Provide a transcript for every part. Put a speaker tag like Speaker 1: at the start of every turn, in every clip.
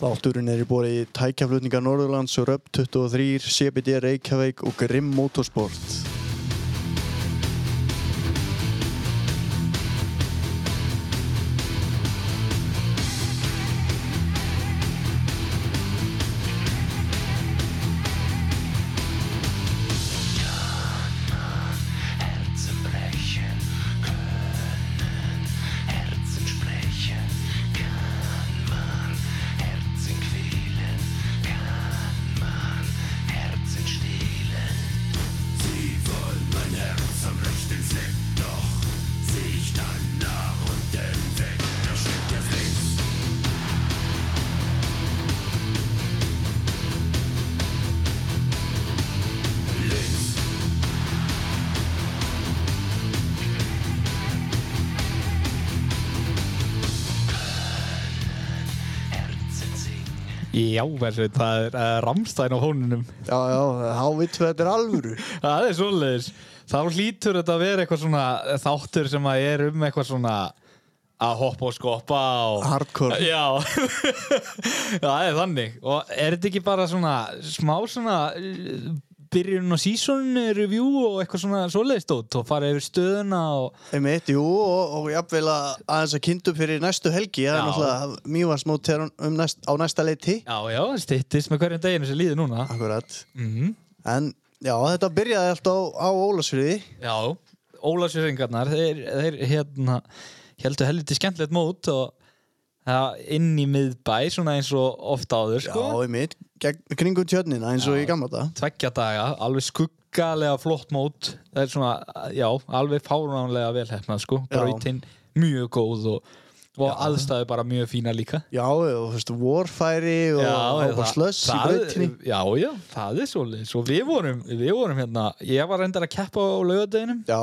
Speaker 1: Þátturinn er í bóri í tækjaflutninga Norðurlands og Röp 23, CBD Reykjavík og Grimm Motorsport.
Speaker 2: Herzen brechen können, Herzen sprechen kann man, Herzen quälen kann man, Herzen stehlen. Sie wollen mein Herz am rechten Fleck, doch zieh ich dann nach unten weg, da steckt der Fleck. Herzen singen.
Speaker 3: Já, verður, það er uh, Ramstein á hónunum.
Speaker 1: Já, já, þá vitum við að þetta er alvöru.
Speaker 3: Það er svoleiðis. Þá hlýtur þetta að vera eitthvað svona þáttur sem að er um eitthvað svona að hoppa og skoppa og...
Speaker 1: Hardcore.
Speaker 3: Já, það er þannig. Og er þetta ekki bara svona smá svona uh, byrjun og season review og eitthvað svona svoleiðist út og fara yfir stöðuna og...
Speaker 1: Einmitt, jú, og, og jafnvel að aðeins að kynntu fyrir næstu helgi, það er
Speaker 3: Já.
Speaker 1: náttúrulega mývarsmót um næst, á næsta leiti.
Speaker 3: Já, já, styttist með hverjum deginu sem líður núna.
Speaker 1: Akkurat.
Speaker 3: Mhm.
Speaker 1: En já, þetta byrjaði allt á, á Ólasfriði.
Speaker 3: Já, Ólafsjöringarnar þeir, þeir hérna heldur helviti skemmtilegt mót og ja, inn í miðbæ svona eins og oft áður
Speaker 1: Já,
Speaker 3: sko.
Speaker 1: einmitt, gegn, kringum tjörnina eins og ég gamla þetta.
Speaker 3: tveggja daga, alveg skuggalega flott mót það er svona, já, alveg fáránlega velhefnað sko,
Speaker 1: Já.
Speaker 3: brautinn mjög góð og, og aðstæðu bara mjög fína líka
Speaker 1: Já, og þú veist, vorfæri og, og bara slöss í
Speaker 3: það-
Speaker 1: brautinni.
Speaker 3: já, já, það er svolítið og við vorum, við vorum hérna ég var reyndar að keppa á laugardeginum
Speaker 1: Já,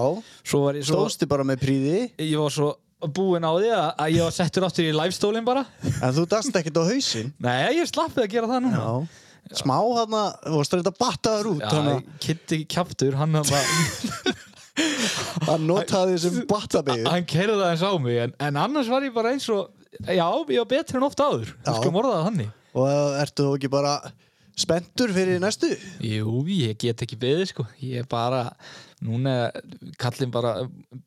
Speaker 3: svo var ég svo
Speaker 1: stóðstu bara með príði,
Speaker 3: ég var svo búinn á því að að ég var settur aftur í livestólinn bara
Speaker 1: en þú dast ekkert á hausinn.
Speaker 3: Nei, ég slappið að gera það núna
Speaker 1: Já. Smá þarna, þú varst reynda að batta þar út,
Speaker 3: Já,
Speaker 1: þannig
Speaker 3: Kitty Kjaftur, hann, hann,
Speaker 1: að hann notaði þig sem battabegið.
Speaker 3: hann kerði það eins á mig en, en annars var ég bara eins og Já, ég var betur en oft áður
Speaker 1: Já.
Speaker 3: Þú sko morðaði þannig
Speaker 1: Og ertu þú ekki bara spenntur fyrir næstu?
Speaker 3: Jú, ég get ekki beðið sko Ég er bara, núna er kallinn bara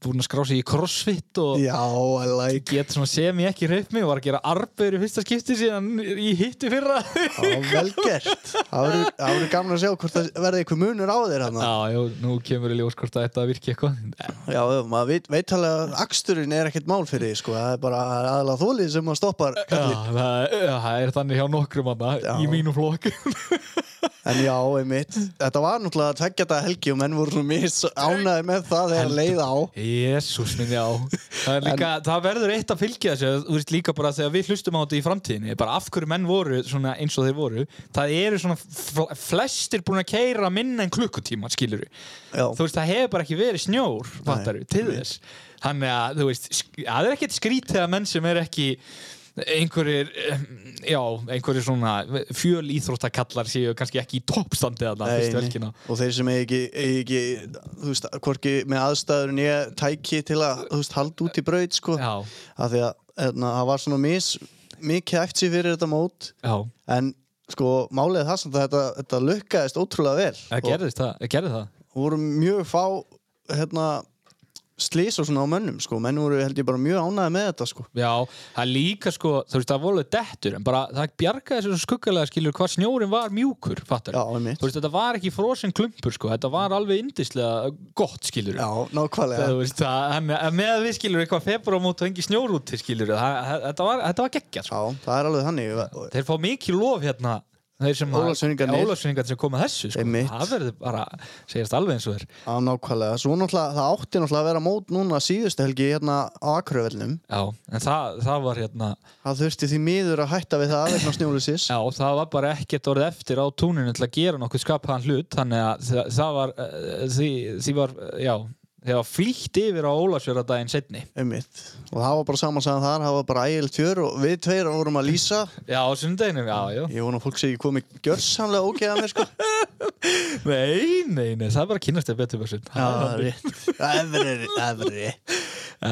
Speaker 3: búinn að skrá sig í crossfit og
Speaker 1: Já, I like.
Speaker 3: get svona sem ég ekki reyf mig og var að gera arbeir í fyrsta skipti síðan í hittu fyrra
Speaker 1: Já, vel gert. Það verður- það verður gaman að sjá hvort það verði eitthvað munur á þér hann.
Speaker 3: Já, já, nú kemur í ljós hvort að þetta virki eitthvað
Speaker 1: Já, já, maður veit, veit alveg að aksturinn er ekkert mál fyrir því, sko. Það er bara aðalega þólið sem maður stoppar kallinn.
Speaker 3: Já, það, já, það er þannig hjá nokkrum
Speaker 1: Já.
Speaker 3: anna, í mínum flokk
Speaker 1: En já, einmitt. Þetta var náttúrulega tveggja þetta helgi og menn voru svona mis ánæði með það þegar leið á.
Speaker 3: Jésús minn, já það, er líka, það verður eitt að fylgja þessu þú veist líka bara þegar við hlustum á þetta í framtíðinni bara af hverju menn voru svona eins og þeir voru það eru svona fl- flestir búin að keira minna en klukkutíma skilur
Speaker 1: Já.
Speaker 3: þú veist, það hefur bara ekki verið snjór fattar til þess þannig að, þú veist, sk- það er ekkert skrítið að menn sem er ekki einhverjir, eh, já, einhverjir svona fjöl íþróttakallar séu kannski ekki í toppstandi þarna
Speaker 1: Nei,
Speaker 3: fyrstu
Speaker 1: nei.
Speaker 3: velkina
Speaker 1: og þeir sem eigi ekki, eigi ekki þú veist, hvorki með aðstæður nýja tæki til að, þú veist, halda út í braut sko,
Speaker 3: Já,
Speaker 1: af því að hérna, það var svona mis, mikið eftir fyrir þetta mót,
Speaker 3: já,
Speaker 1: en sko, málið er það sem þetta, þetta lukkaðist ótrúlega vel
Speaker 3: það gerðist það, það gerði það
Speaker 1: og voru mjög fá hérna, slís og svona á mönnum sko, menn voru held ég bara mjög ánæði með þetta sko.
Speaker 3: Já, það líka sko, þú veist, það voru alveg dettur en bara, það bjargaði þessu skuggalega skilur hvað snjórin var mjúkur, fattar
Speaker 1: já, einmitt
Speaker 3: Þú veist, þetta var ekki frosin klumpur sko, þetta var alveg indislega gott skilur
Speaker 1: já, nákvæmlega
Speaker 3: Það, þú veist, það, hann- að með að við skilur eitthvað februarmót og engi snjór úti skilur það, það, þetta var, þetta var geggjað sko.
Speaker 1: já, það er alveg þannig
Speaker 3: þeir fá mikið lof hérna þeir sem
Speaker 1: Ólafsvíkingarnir.
Speaker 3: Ólafsvinningarnir sem koma þessu sko.
Speaker 1: Einmitt.
Speaker 3: það verður bara, segjast alveg eins og þér
Speaker 1: Já, nákvæmlega. Svo náttúrulega, það átti náttúrulega að vera mót núna síðustu helgi hérna á Akuröfellum.
Speaker 3: Já, en það, það var hérna
Speaker 1: Það þurfti því miður að hætta við það vegna snjólusis.
Speaker 3: Já, það var bara ekkert orðið eftir á túninu til að gera nokkuð skapaðan hlut þannig að það, það var eh, því, því var, eh, já þegar var flýtt yfir á Ólafsjöradaginn setni
Speaker 1: Einmitt. Og það var bara saman saman þar, það var bara ægild fjör og við tveir vorum að lýsa.
Speaker 3: Já, á sundeginum, já, já
Speaker 1: Ég vona að fólk sé ekki komið gjörsamlega ógeða mér sko.
Speaker 3: Nei, nei, nei, það er bara að kynast þér betur Já,
Speaker 1: rétt. Efri, efri.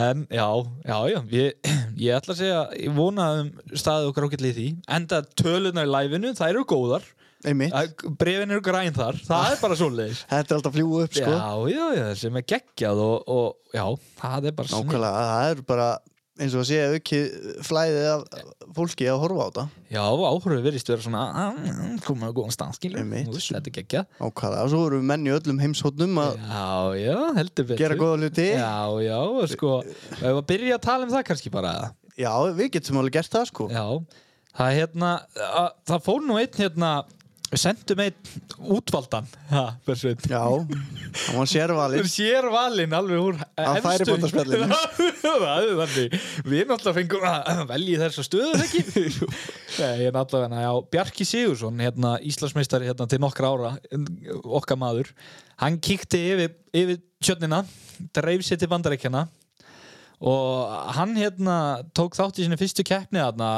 Speaker 3: En já, já, já, ég, ég ætla að segja, ég vona að um staðið okkar ágætlið því, enda tölunar í læfinu, þær eru góðar,
Speaker 1: einmitt
Speaker 3: Að brefin eru græn þar, það er bara svoleiðis.
Speaker 1: Þetta er alltaf að fljúa upp sko
Speaker 3: Já, já, já, sem er geggjað og, og já, það er bara snill.
Speaker 1: Nákvæmlega, það er bara eins og að sé aukið flæðið af fólki að horfa á þetta
Speaker 3: Já, áhverfið virðist vera svona, "Ah, mm, komum að góðan stanskilur,
Speaker 1: Einmitt.
Speaker 3: þetta er geggjað.
Speaker 1: Nákvæmlega, og svo erum við menn í öllum heimshóttnum að
Speaker 3: Já, já, heldur betur.
Speaker 1: gera góða hluti já.
Speaker 3: Já, já, og sko, við hefum að byrja að tala um það kannski bara, eða?
Speaker 1: við getum alveg gert það sko
Speaker 3: Já, það er hérna að, það fór nú einn hérna við sendum einn útvaldan ha, Bersveit.
Speaker 1: Já, það var sérvalið
Speaker 3: sér valinn alveg úr
Speaker 1: Af
Speaker 3: efstu-
Speaker 1: færibátaspjallinu.
Speaker 3: það er þannig við náttúrulega fengum að velja þess að stöðu er ekki Nei, ég er náttúrulega já, Bjarki Sigursson, hérna Íslandsmeistari hérna, til nokkra ára, okkar maður hann kíkti yfir, yfir tjörnina, dreif sér til bandarækjana og hann hérna tók þátt í sinni fyrstu keppni þarna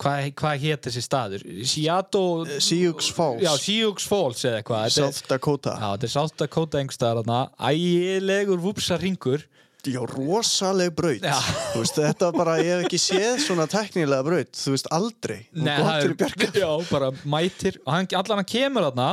Speaker 3: hvað hva hétt þessi staður? Seattle
Speaker 1: Sioux Falls,
Speaker 3: Já, Sioux Falls eða eitthvað Þetta er-
Speaker 1: Eh, South Dakota
Speaker 3: Já, þetta er South Dakota engstaðar þarna Ægilegur vupsa ringur
Speaker 1: Já, rosaleg braut
Speaker 3: Já.
Speaker 1: Þú veist, þetta var bara, ég hef ekki séð svona teknilega braut, þú veist, aldrei Hún gott fyrir bjarga
Speaker 3: Já, bara mætir Og hann, allan hann kemur þarna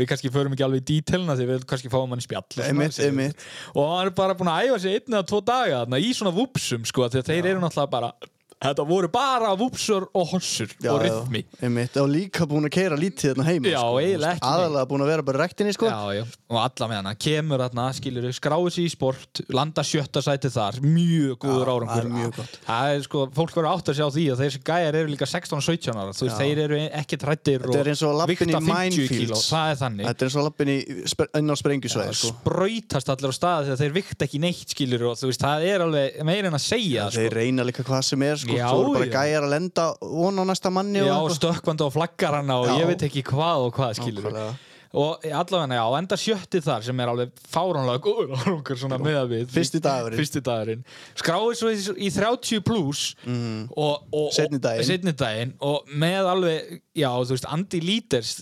Speaker 3: Við kannski förum ekki alveg í dítelina Þegar við kannski fáum hann í spjall og svona.
Speaker 1: Einmitt, einmitt.
Speaker 3: Og hann er bara búin að æfa sig einn eða tvo daga þarna Í svona vupsum, sko Þegar þeir eru náttúrulega bara Þetta voru bara vupsur og hossur
Speaker 1: Já,
Speaker 3: Og rithmi
Speaker 1: já, einmitt, og líka búin að keira lítið þarna heima
Speaker 3: Já,
Speaker 1: sko.
Speaker 3: eiginlega ekki neitt.
Speaker 1: aðalega búin að vera bara í rektinni sko.
Speaker 3: Já, já, og alla með hana, kemur hana, skilur skráið sér í sport, landa sjötta sæti þar, mjög góður
Speaker 1: Já,
Speaker 3: árangur
Speaker 1: það er mjög gott.
Speaker 3: Það er sko, fólk verður átt að sjá því að þessi gæjar eru líka 16-17 ára, þú veist, þeir eru ekki trættir
Speaker 1: þetta er eins og lappin í
Speaker 3: kíló,
Speaker 1: minefields
Speaker 3: það er þannig
Speaker 1: þetta er eins og lappin í sp- inn á
Speaker 3: Það
Speaker 1: sprengjusvæði sko.
Speaker 3: sprautast allir á staði þegar þeir vikta ekki neitt skilur og þú veist, það er alveg meira en að segja sko.
Speaker 1: þeir reyna líka hvað sem er sko.
Speaker 3: Já,
Speaker 1: þú eru bara
Speaker 3: já.
Speaker 1: gæjar að lenda von á næsta manni
Speaker 3: Já,
Speaker 1: og eitthvað.
Speaker 3: stökkvandi og flaggar hana og
Speaker 1: Já.
Speaker 3: ég veit ekki hvað og hvað skilur
Speaker 1: Nákvæmlega.
Speaker 3: og allavega, já, enda sjötti þar sem er alveg fáránlega góður árangur svona meða við
Speaker 1: Fyrsti dagurinn.
Speaker 3: Fyrsti dagurinn. skráið svo í, í 30 pluss og, og,
Speaker 1: Mhm. Seinni daginn.
Speaker 3: og, seinni daginn og með alveg, já, þú veist, Andy Líters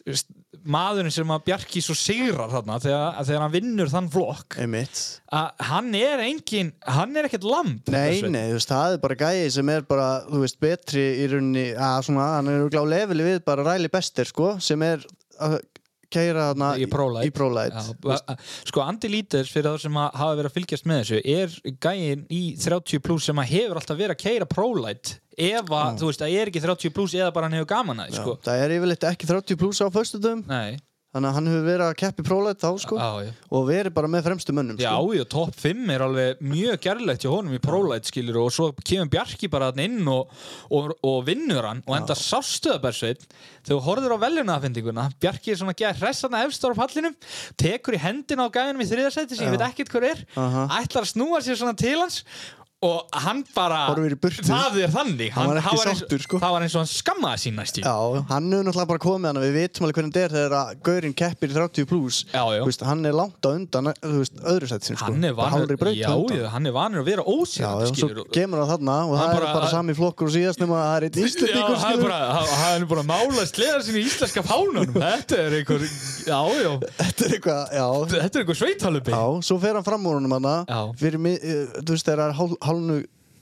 Speaker 3: maðurinn sem að Bjarki svo sigrar þarna þegar, þegar hann vinnur þann flokk
Speaker 1: einmitt
Speaker 3: að hann er engin, hann er ekkert lamb
Speaker 1: Nei,
Speaker 3: Sveinn.
Speaker 1: nei, þú veist, það er bara gæi sem er bara, þú veist, betri í rauninni að svona, hann er glá leveli við bara ræli bestir, sko, sem er að kæra þarna
Speaker 3: í Prolight,
Speaker 1: í Prolight.
Speaker 3: Já, ba- sko Andy Líters fyrir þá sem að hafa verið að fylgjast með þessu er gæin í 30 plus sem að hefur alltaf verið að keira Prolight ef að þú veist að er ekki 30 plus eða bara hann hefur gaman að því, sko.
Speaker 1: Það er yfirleitt ekki 30 pluss á föstudum,
Speaker 3: Nei,
Speaker 1: þannig að hann hefur verið að keppi Prolight þá, sko,
Speaker 3: á, já.
Speaker 1: og verið bara með fremstu mönnum,
Speaker 3: Já,
Speaker 1: sko.
Speaker 3: já, topp 5 er alveg mjög gerlegt hjá honum í Prolight skilur og svo kemur Bjarki bara þarna inn og, og, og vinnur hann og enda sástuðabersveit þegar þú horfir á veljunaðafendinguna Bjarki er svona gæð hressana efstar á pallinum tekur í hendina á gæðinum í þriðasæti sem ég veit ekkert hver er
Speaker 1: Aha.
Speaker 3: ætlar að snúa sér svona til hans og hann bara
Speaker 1: Horfir í burtu.
Speaker 3: það er þannig
Speaker 1: Hann var ekki
Speaker 3: það eins-
Speaker 1: sáttur, sko.
Speaker 3: það var eins og hann skammaði sín næst í
Speaker 1: Já, hann hefur náttúrulega bara komið hann, við vitum alveg hvernig þetta er þegar að gaurinn keppir í 30 pluss,
Speaker 3: Já, já.
Speaker 1: þú veist, hann er langt á undan, þú veist, öðru sætt sinni, sko.
Speaker 3: hann er
Speaker 1: Bara
Speaker 3: vanur,
Speaker 1: hálfri braut
Speaker 3: já,
Speaker 1: á undan.
Speaker 3: já, hann er vanur að vera
Speaker 1: Já,
Speaker 3: ósýrandi
Speaker 1: já,
Speaker 3: skilur
Speaker 1: svo kemur hann þarna og
Speaker 3: Hann
Speaker 1: það
Speaker 3: bara-
Speaker 1: er bara sami flokkur og síðast nema að það er einn
Speaker 3: Já,
Speaker 1: íslendingur
Speaker 3: hann er
Speaker 1: skilur.
Speaker 3: bara, hann- hann er búin að mála sleðar sinni í íslenska fánunum Þetta er einhver, já, já
Speaker 1: Þetta er eitthvað, já,
Speaker 3: Þetta er einhver sveitalubi
Speaker 1: já, svo fer hann fram úr honum hana
Speaker 3: Já.
Speaker 1: fyrir, mi- eh, þú veist, þegar hál, hálnu,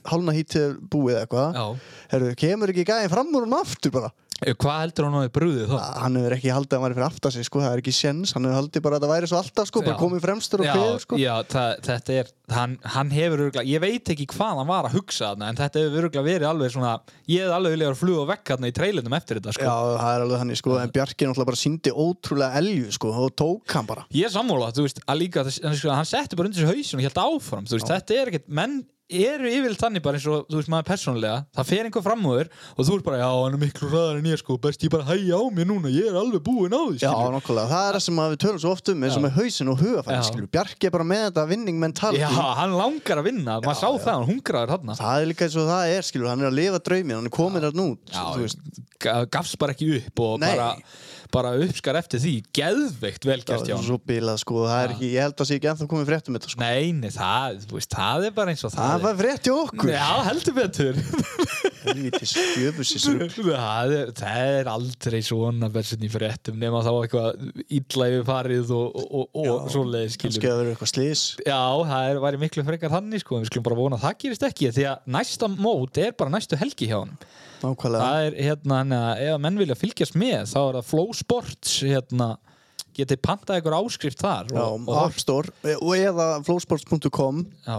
Speaker 1: hálna hítið er búið eða eitthvað
Speaker 3: Já. Eh,
Speaker 1: Herru, kemur ekki gæðin fram úr honum aftur bara
Speaker 3: Hvað heldur hann á því brúðið þá?
Speaker 1: Hann hefur ekki haldið að hann væri fyrir aftar sig, sko, það er ekki séns Hann hefur haldið bara að það væri svo alltaf, sko,
Speaker 3: Já.
Speaker 1: bara komið fremstur og
Speaker 3: Já,
Speaker 1: kveður, sko
Speaker 3: já það, þetta er, hann, hann hefur örgulega, ég veit ekki hvað hann var að hugsa þarna En þetta hefur örgulega verið alveg svona, ég hefði alveg viljað að fluga vekk þarna í trailinum eftir þetta sko.
Speaker 1: Já, það er alveg þannig, sko, en Bjarki náttúrulega bara síndi ótrúlega elju, sko, og tók hann bara
Speaker 3: Ég er sammála, þú veist, að líka, þess- en sko, hann setti bara undir þessu hausin og held áfram, þú veist, þetta er ekkert, menn eru yfirleitt þannig bara eins og, þú veist, maður persónulega, það fer einhver fram úr þér og þú ert bara, já, hann er miklu ræðar en ég, sko, best ég bara hægja á mér núna, ég er alveg búinn á því,
Speaker 1: Já,
Speaker 3: skilur.
Speaker 1: nokkulega, það er það sem að við tölum svo oft um eins og
Speaker 3: Já.
Speaker 1: með hausin og hugafæri,
Speaker 3: Já.
Speaker 1: skilur Bjarki er bara með þetta vinning mentality
Speaker 3: Já, hann langar að vinna, maður sá það, hann hungraður þarna.
Speaker 1: Það er líka eins og það er, skilur, hann er að lifa drauminn, hann er komin þarna út
Speaker 3: Já,
Speaker 1: þú veist.
Speaker 3: ga- gafst bara ekki upp og
Speaker 1: Nei.
Speaker 3: bara, bara uppskar eftir því geðveikt vel gert hjá
Speaker 1: það er
Speaker 3: hann
Speaker 1: svo bílað sko það er
Speaker 3: Ha.
Speaker 1: ekki, ég held að sé ekki ennþá komið frétt um þetta sko.
Speaker 3: Nei, nei, það, þú veist, það er bara eins og það,
Speaker 1: það var frétt hjá
Speaker 3: er
Speaker 1: okkur
Speaker 3: Já, heldur betur
Speaker 1: helvítis, djöfusins rugl.
Speaker 3: það, er, það er aldrei svona bensin í fréttum nema þá eitthvað illa yfir farið og, og, og, og
Speaker 1: Já,
Speaker 3: svoleiðis skilur
Speaker 1: kannski að vera eitthvað slís
Speaker 3: Já, það er, væri miklu frekar þannig sko, en við skulum bara vona að það gerist ekki því að næsta mót er bara næstu helgi hjá hann
Speaker 1: nákvæmlega,
Speaker 3: það er hérna, hann að ef menn vilja fylgjast með þá er það Flow Sports hérna, getið pantað ykkur áskrift þar
Speaker 1: já,
Speaker 3: og, og,
Speaker 1: App Store e- og eða flowsports.com
Speaker 3: já,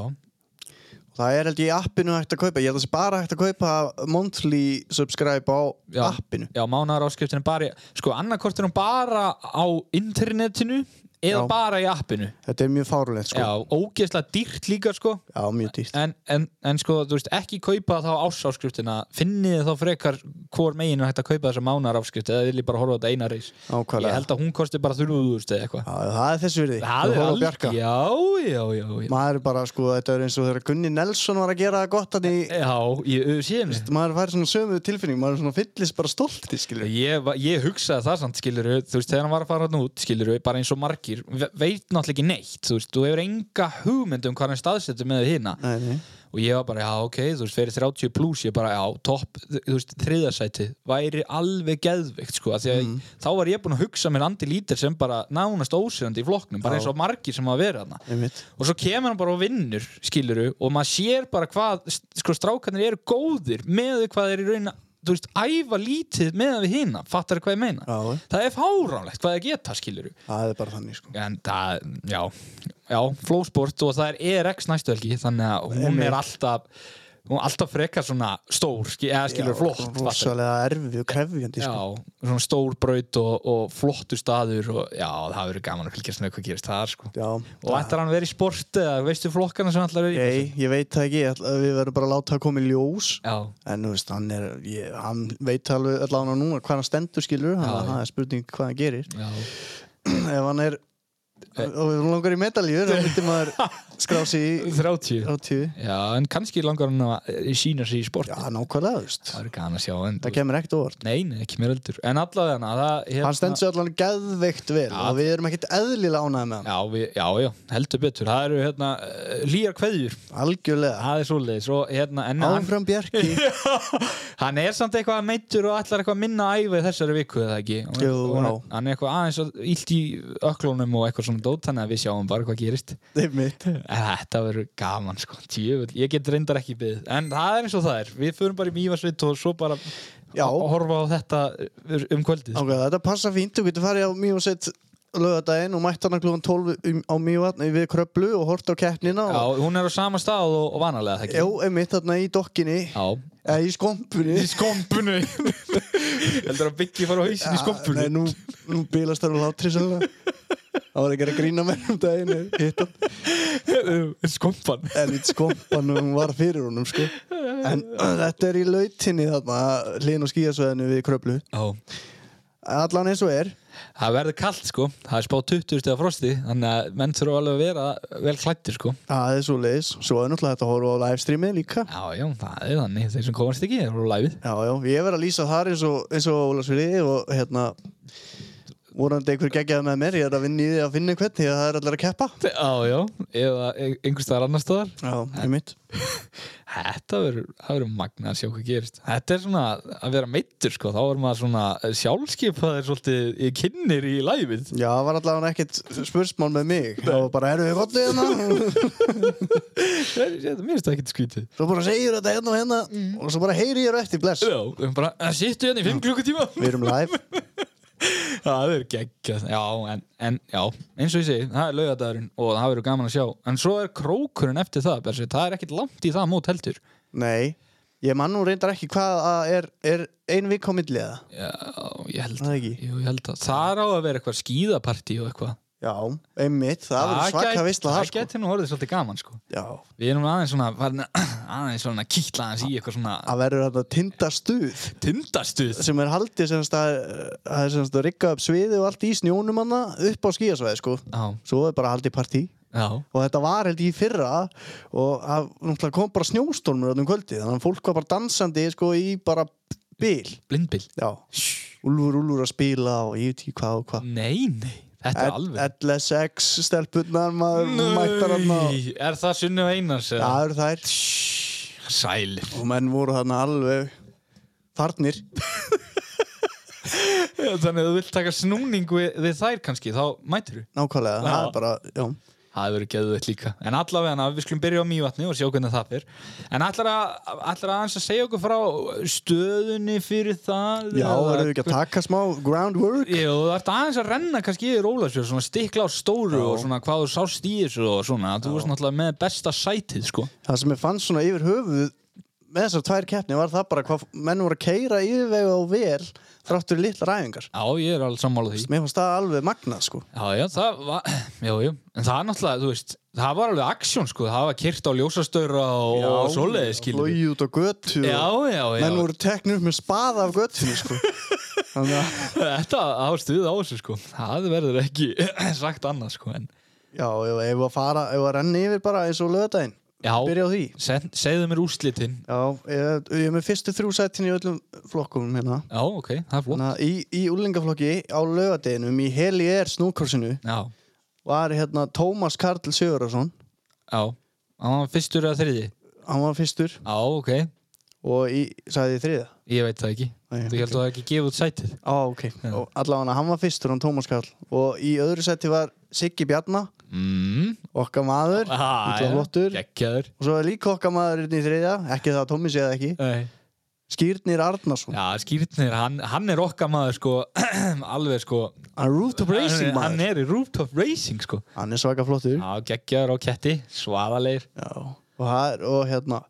Speaker 1: það er held ég í appinu hægt að kaupa ég held að það sé bara hægt að kaupa monthly subscribe á
Speaker 3: Já.
Speaker 1: appinu
Speaker 3: já mánar áskriftin er bara í, sko annarkort er hún bara á internetinu eða
Speaker 1: Já.
Speaker 3: bara í appinu
Speaker 1: þetta er mjög fárulegt sko,
Speaker 3: já, ógeðslega dýrt líka sko
Speaker 1: já, mjög dýrt
Speaker 3: en, en, en sko, þú veist, ekki kaupa þá ásáskriftina, finnið þið þá frekar hvor meginu hægt að kaupa þessa mánar áskrift eða viljið bara horfa á þetta eina reis ég
Speaker 1: nákvæmlega,
Speaker 3: held að hún kosti bara 300.000 eða eitthvað
Speaker 1: já, það er þessu virði Við
Speaker 3: það er
Speaker 1: horfum á
Speaker 3: alveg,
Speaker 1: Bjarka.
Speaker 3: já, já, já, já.
Speaker 1: maður er bara sko, þetta er eins og þegar Gunni Nelson var að gera það gott hann í
Speaker 3: Já, ég síðan
Speaker 1: maður fær svona sömu tilfinning, maður er svona fyllist bara stolti skilur
Speaker 3: Ég, va- ég hugsaði það samt, skilur þú veist, þegar hann var að fara hann út, skilur bara eins og margir, ve- veit náttúrulega ekki neitt þú veist, þú hefur enga hugmynd um hvað hann staðsetur með hérna
Speaker 1: nei, nei.
Speaker 3: og ég var bara, já, ok, þú veist, fyrir 30 pluss ég bara, já, topp, þú veist, þriðarsæti væri alveg geðvikt, sko af því að
Speaker 1: Mm.
Speaker 3: þá var ég búinn að hugsa mér Andi Lítir sem bara nánast ósýrandi í flokknum, bara
Speaker 1: Já.
Speaker 3: eins og margir sem að vera hann
Speaker 1: einmitt
Speaker 3: og svo kemur hann bara og vinnur skiluru og maður sér bara hvað sko strákanir eru góðir með því hvað þeir eru raun að þú veist, æfa lítið með við hina, fattar hvað ég meina
Speaker 1: Já.
Speaker 3: það er fáránlegt hvað þeir geta skiluru
Speaker 1: það er bara þannig sko
Speaker 3: en það, já, já flósport og það er ERX næstu helgi þannig að hún
Speaker 1: Einmitt.
Speaker 3: er alltaf hún er alltaf frekar svona stór skil, eða skilur flott fattar.
Speaker 1: rosalega erfið og krefjandi sko.
Speaker 3: Já, svona stór braut og, og flottu staður og já, það verður gaman að fylgjast með hvað gerist það sko.
Speaker 1: já,
Speaker 3: Og ætlar hann að vera í sport eða veistu flokkana sem ætlar að vera í?
Speaker 1: Nei, ég veit það ekki, ég ætla- við verðum bara að láta það koma í ljós
Speaker 3: Já,
Speaker 1: en þú veist, hann, er, ég, hann veit alveg allan á núna hvað hann stendur skilur hann,
Speaker 3: Já.
Speaker 1: það er spurning hvað hann gerir
Speaker 3: já.
Speaker 1: ef hann er
Speaker 3: Eh.
Speaker 1: og við langar í medaljur þá myndi maður skrá sig í
Speaker 3: 30.
Speaker 1: 30
Speaker 3: Já, en kannski langar hann að eh, sína sig í sport.
Speaker 1: já, nákvæmlega, þú veist
Speaker 3: Það er gana að sjá. En,
Speaker 1: það kemur ekkert óvart
Speaker 3: Nei, nei, ekki mér heldur. En allavega hana, það... Hérna,
Speaker 1: hann stendur sig allan geðveikt vel
Speaker 3: Já.
Speaker 1: og við erum ekkert eðlilega ánægð með hann
Speaker 3: Já, við, já, já, heldur betur. Það eru hérna eh, hlýjar kveðjur.
Speaker 1: algjörlega,
Speaker 3: Það er svoleiðis. Og hérna, en hann,
Speaker 1: áfram Bjarki
Speaker 3: hann er samt eitthvað meittur og allar eitthvað minna að æfa í þessari viku, eða ekki? Hún er-
Speaker 1: Jú,
Speaker 3: hún er-
Speaker 1: já.
Speaker 3: Hann er eitthvað aðeins og illt í öklunum og eitthvað svona dót, þannig að við sjáum bara hvað gerist.
Speaker 1: einmitt,
Speaker 3: En þetta verður gaman sko, tjöfull, ég get reyndar ekki byggð En það er eins og það er, við förum bara í mýfarsveit og svo bara
Speaker 1: Já.
Speaker 3: ho- horfa á þetta um kvöldið sko.
Speaker 1: ákveða, þetta passa fínt þú getur farið á Mjósett lögadaginn og mætt hann klúan 12 um- á Mjóvatn við Kröplu og hort á keppnina
Speaker 3: Já,
Speaker 1: og,
Speaker 3: hún er á sama stað og, og vanalega það
Speaker 1: já,
Speaker 3: ekki
Speaker 1: einmitt þarna í dokkinni
Speaker 3: Já
Speaker 1: eða í skompunni
Speaker 3: Í skompunni Heldur að byggi fara á hausin í
Speaker 1: Ah,
Speaker 3: skompunni
Speaker 1: Nei, nú, nú bílast það úr látri sérlega Það var ekki að grína mér um daginn Hittan
Speaker 3: Skompan
Speaker 1: Elít skompanum var fyrir honum sko. En þetta er í lautinni þarna Hlinn og skíðasveðinu við kröplu
Speaker 3: Já,
Speaker 1: Allan eins og er
Speaker 3: það verður kallt sko, það er spáð 20 stið frosti Þannig að menn þurfa alveg að vera vel klættir sko
Speaker 1: Það er svo leiðis Svo er náttúrulega þetta að horfa á livestreami líka
Speaker 3: Já, já, það er þannig, þeir sem komast ekki er á læfið
Speaker 1: Já, já, ég verð að lýsa þar eins og, eins og Ólasfriði og hérna vorandi einhver geggjaði með mér Ég er að vinna í því að finna einhvern því að það er allir að keppa
Speaker 3: Já, já, eða einhvers staðar annar staðar
Speaker 1: Já, einmitt
Speaker 3: Þetta verður það verður magna að sjá hvað gerist Þetta er svona að vera meittur sko þá er maður svona sjálfskipaðir svolítið í kynir í læfið
Speaker 1: Já, það var allavega ekkert spursmál með mig Það var bara, erum við gott við hérna?
Speaker 3: Þetta mér finnst það ekkert skrítið
Speaker 1: Svo bara segir þetta hérna og hérna og svo bara heyri ég þér á eftir bless.
Speaker 3: Já, við erum bara að sittu hérna í fimm klukkutíma
Speaker 1: Við erum live.
Speaker 3: Það er geggja Já, en, en já, eins og ég segi það er laugadagurinn og það verður gaman að sjá En svo er krókurinn eftir það bersi, það er ekkert langt í það mót heldur
Speaker 1: Nei, ég man nú reyndar ekki hvað að er, er ein vik á milli eða.
Speaker 3: Já, ég held
Speaker 1: Það ekki.
Speaker 3: Jú, ég held að það á að vera eitthvað skíðapartí og eitthvað
Speaker 1: Já, einmitt, það verður svaka
Speaker 3: gæti-
Speaker 1: veistla það
Speaker 3: Það
Speaker 1: sko.
Speaker 3: geti nú orðið svolítið gaman sko
Speaker 1: Já,
Speaker 3: Við erum aðeins svona, farin að- aðeins svona að kýtla aðeins í eitthvað svona
Speaker 1: það verður þetta tindastuð
Speaker 3: tindastuð.
Speaker 1: sem er haldið semst að, það er semst að rigga upp sviði og allt í snjónum hana upp á skíasvæði sko.
Speaker 3: Já,
Speaker 1: Svo er bara haldið partí
Speaker 3: já,
Speaker 1: og þetta var held ég í fyrra og það náttúrulega kom bara um snjóstormur öllum kvöldi þannig að fólk var bara dansandi sko í bara bíl.
Speaker 3: blindbill.
Speaker 1: Já, Úlfur, úlfur að spila og ég veit ekki hvað og hvað
Speaker 3: Nei, nei, þetta er alveg
Speaker 1: LSX stelpunnar maður mættar hann og
Speaker 3: Nei, er það sunnu einars?
Speaker 1: Já, það eru þær
Speaker 3: Sæl
Speaker 1: og menn voru þarna alveg farnir
Speaker 3: Þannig að þú vilt taka snúning við, við þær kannski, þá mætir þú
Speaker 1: nákvæmlega,
Speaker 3: Já.
Speaker 1: það er bara, já
Speaker 3: Það verður geðveitt líka En allavega, við skulum byrja á mývatni og sjá hvernig það fyrr En ætlar að, ætlar að aðeins að segja okkur frá stöðunni fyrir það
Speaker 1: Já, verður við ekki að taka smá groundwork?
Speaker 3: Jú, það ert aðeins að renna kannski yfir Ólafsfjörð, svona stikla á stóru
Speaker 1: Já.
Speaker 3: og svona hvað þú sást í þessu og svona Þú varst náttúrulega með besta sætið, sko
Speaker 1: Það sem ég fann svona yfir höfuð með þessar tvær keppni var það bara hvað menn voru að keira yfirvega og vel þráttur í litlar æfingar.
Speaker 3: Já, ég er alveg sammála því
Speaker 1: Mér fannst það alveg magnað sko.
Speaker 3: Já, já, það var, já, já, en það er náttúrulega, þú veist, það var alveg aksjón, sko, það var kyrt á ljósastöra og, og svoleiði, skilur við.
Speaker 1: Lógi út á götu og-
Speaker 3: Já, já, já,
Speaker 1: menn voru teknir upp með spaða af götunni sko. Þannig að,
Speaker 3: þetta ástuð á þessu, sko, það verður ekki sagt annað, sko, en,
Speaker 1: já, já, ef að fara, ef að renna yfir bara eins og löðdæin,
Speaker 3: já,
Speaker 1: byrja á því.
Speaker 3: sen, segðu mér úrslitin,
Speaker 1: Já, ég, ég er með fyrstu þrjú sætin í öllum flokkum hérna.
Speaker 3: já, ok, það er flott,
Speaker 1: Þannig að í, í úlingaflokki á löðdæinum í heli er snúkorsinu
Speaker 3: já,
Speaker 1: var hérna Tómas Karl Sigurðarsson
Speaker 3: já, hann var fyrstur eða þriði,
Speaker 1: hann var fyrstur
Speaker 3: já, ok,
Speaker 1: og í, sagði ég þriða
Speaker 3: ég veit það ekki,
Speaker 1: Nei,
Speaker 3: þú heldur það ekki gefið út sætið,
Speaker 1: á ok, og allavega hann var fyrstur hann Tómas Karl og í öðru seti var Siggi Bjarna,
Speaker 3: mm,
Speaker 1: okkar maður illa flottur,
Speaker 3: geggjaður,
Speaker 1: og svo er líka okkar maður hérna í þriða, ekki það að Tómi sé það ekki
Speaker 3: nei,
Speaker 1: Skýrnir Arnarsson,
Speaker 3: Já, skýrtnir, hann, hann er okkar maður sko, alveg sko
Speaker 1: hann er rooftop racing
Speaker 3: hann, hann
Speaker 1: maður
Speaker 3: er í rooftop racing sko
Speaker 1: hann er svaka flottur
Speaker 3: Já, geggjaður á ketti, svaðaleir
Speaker 1: Já. og, það er, og hérna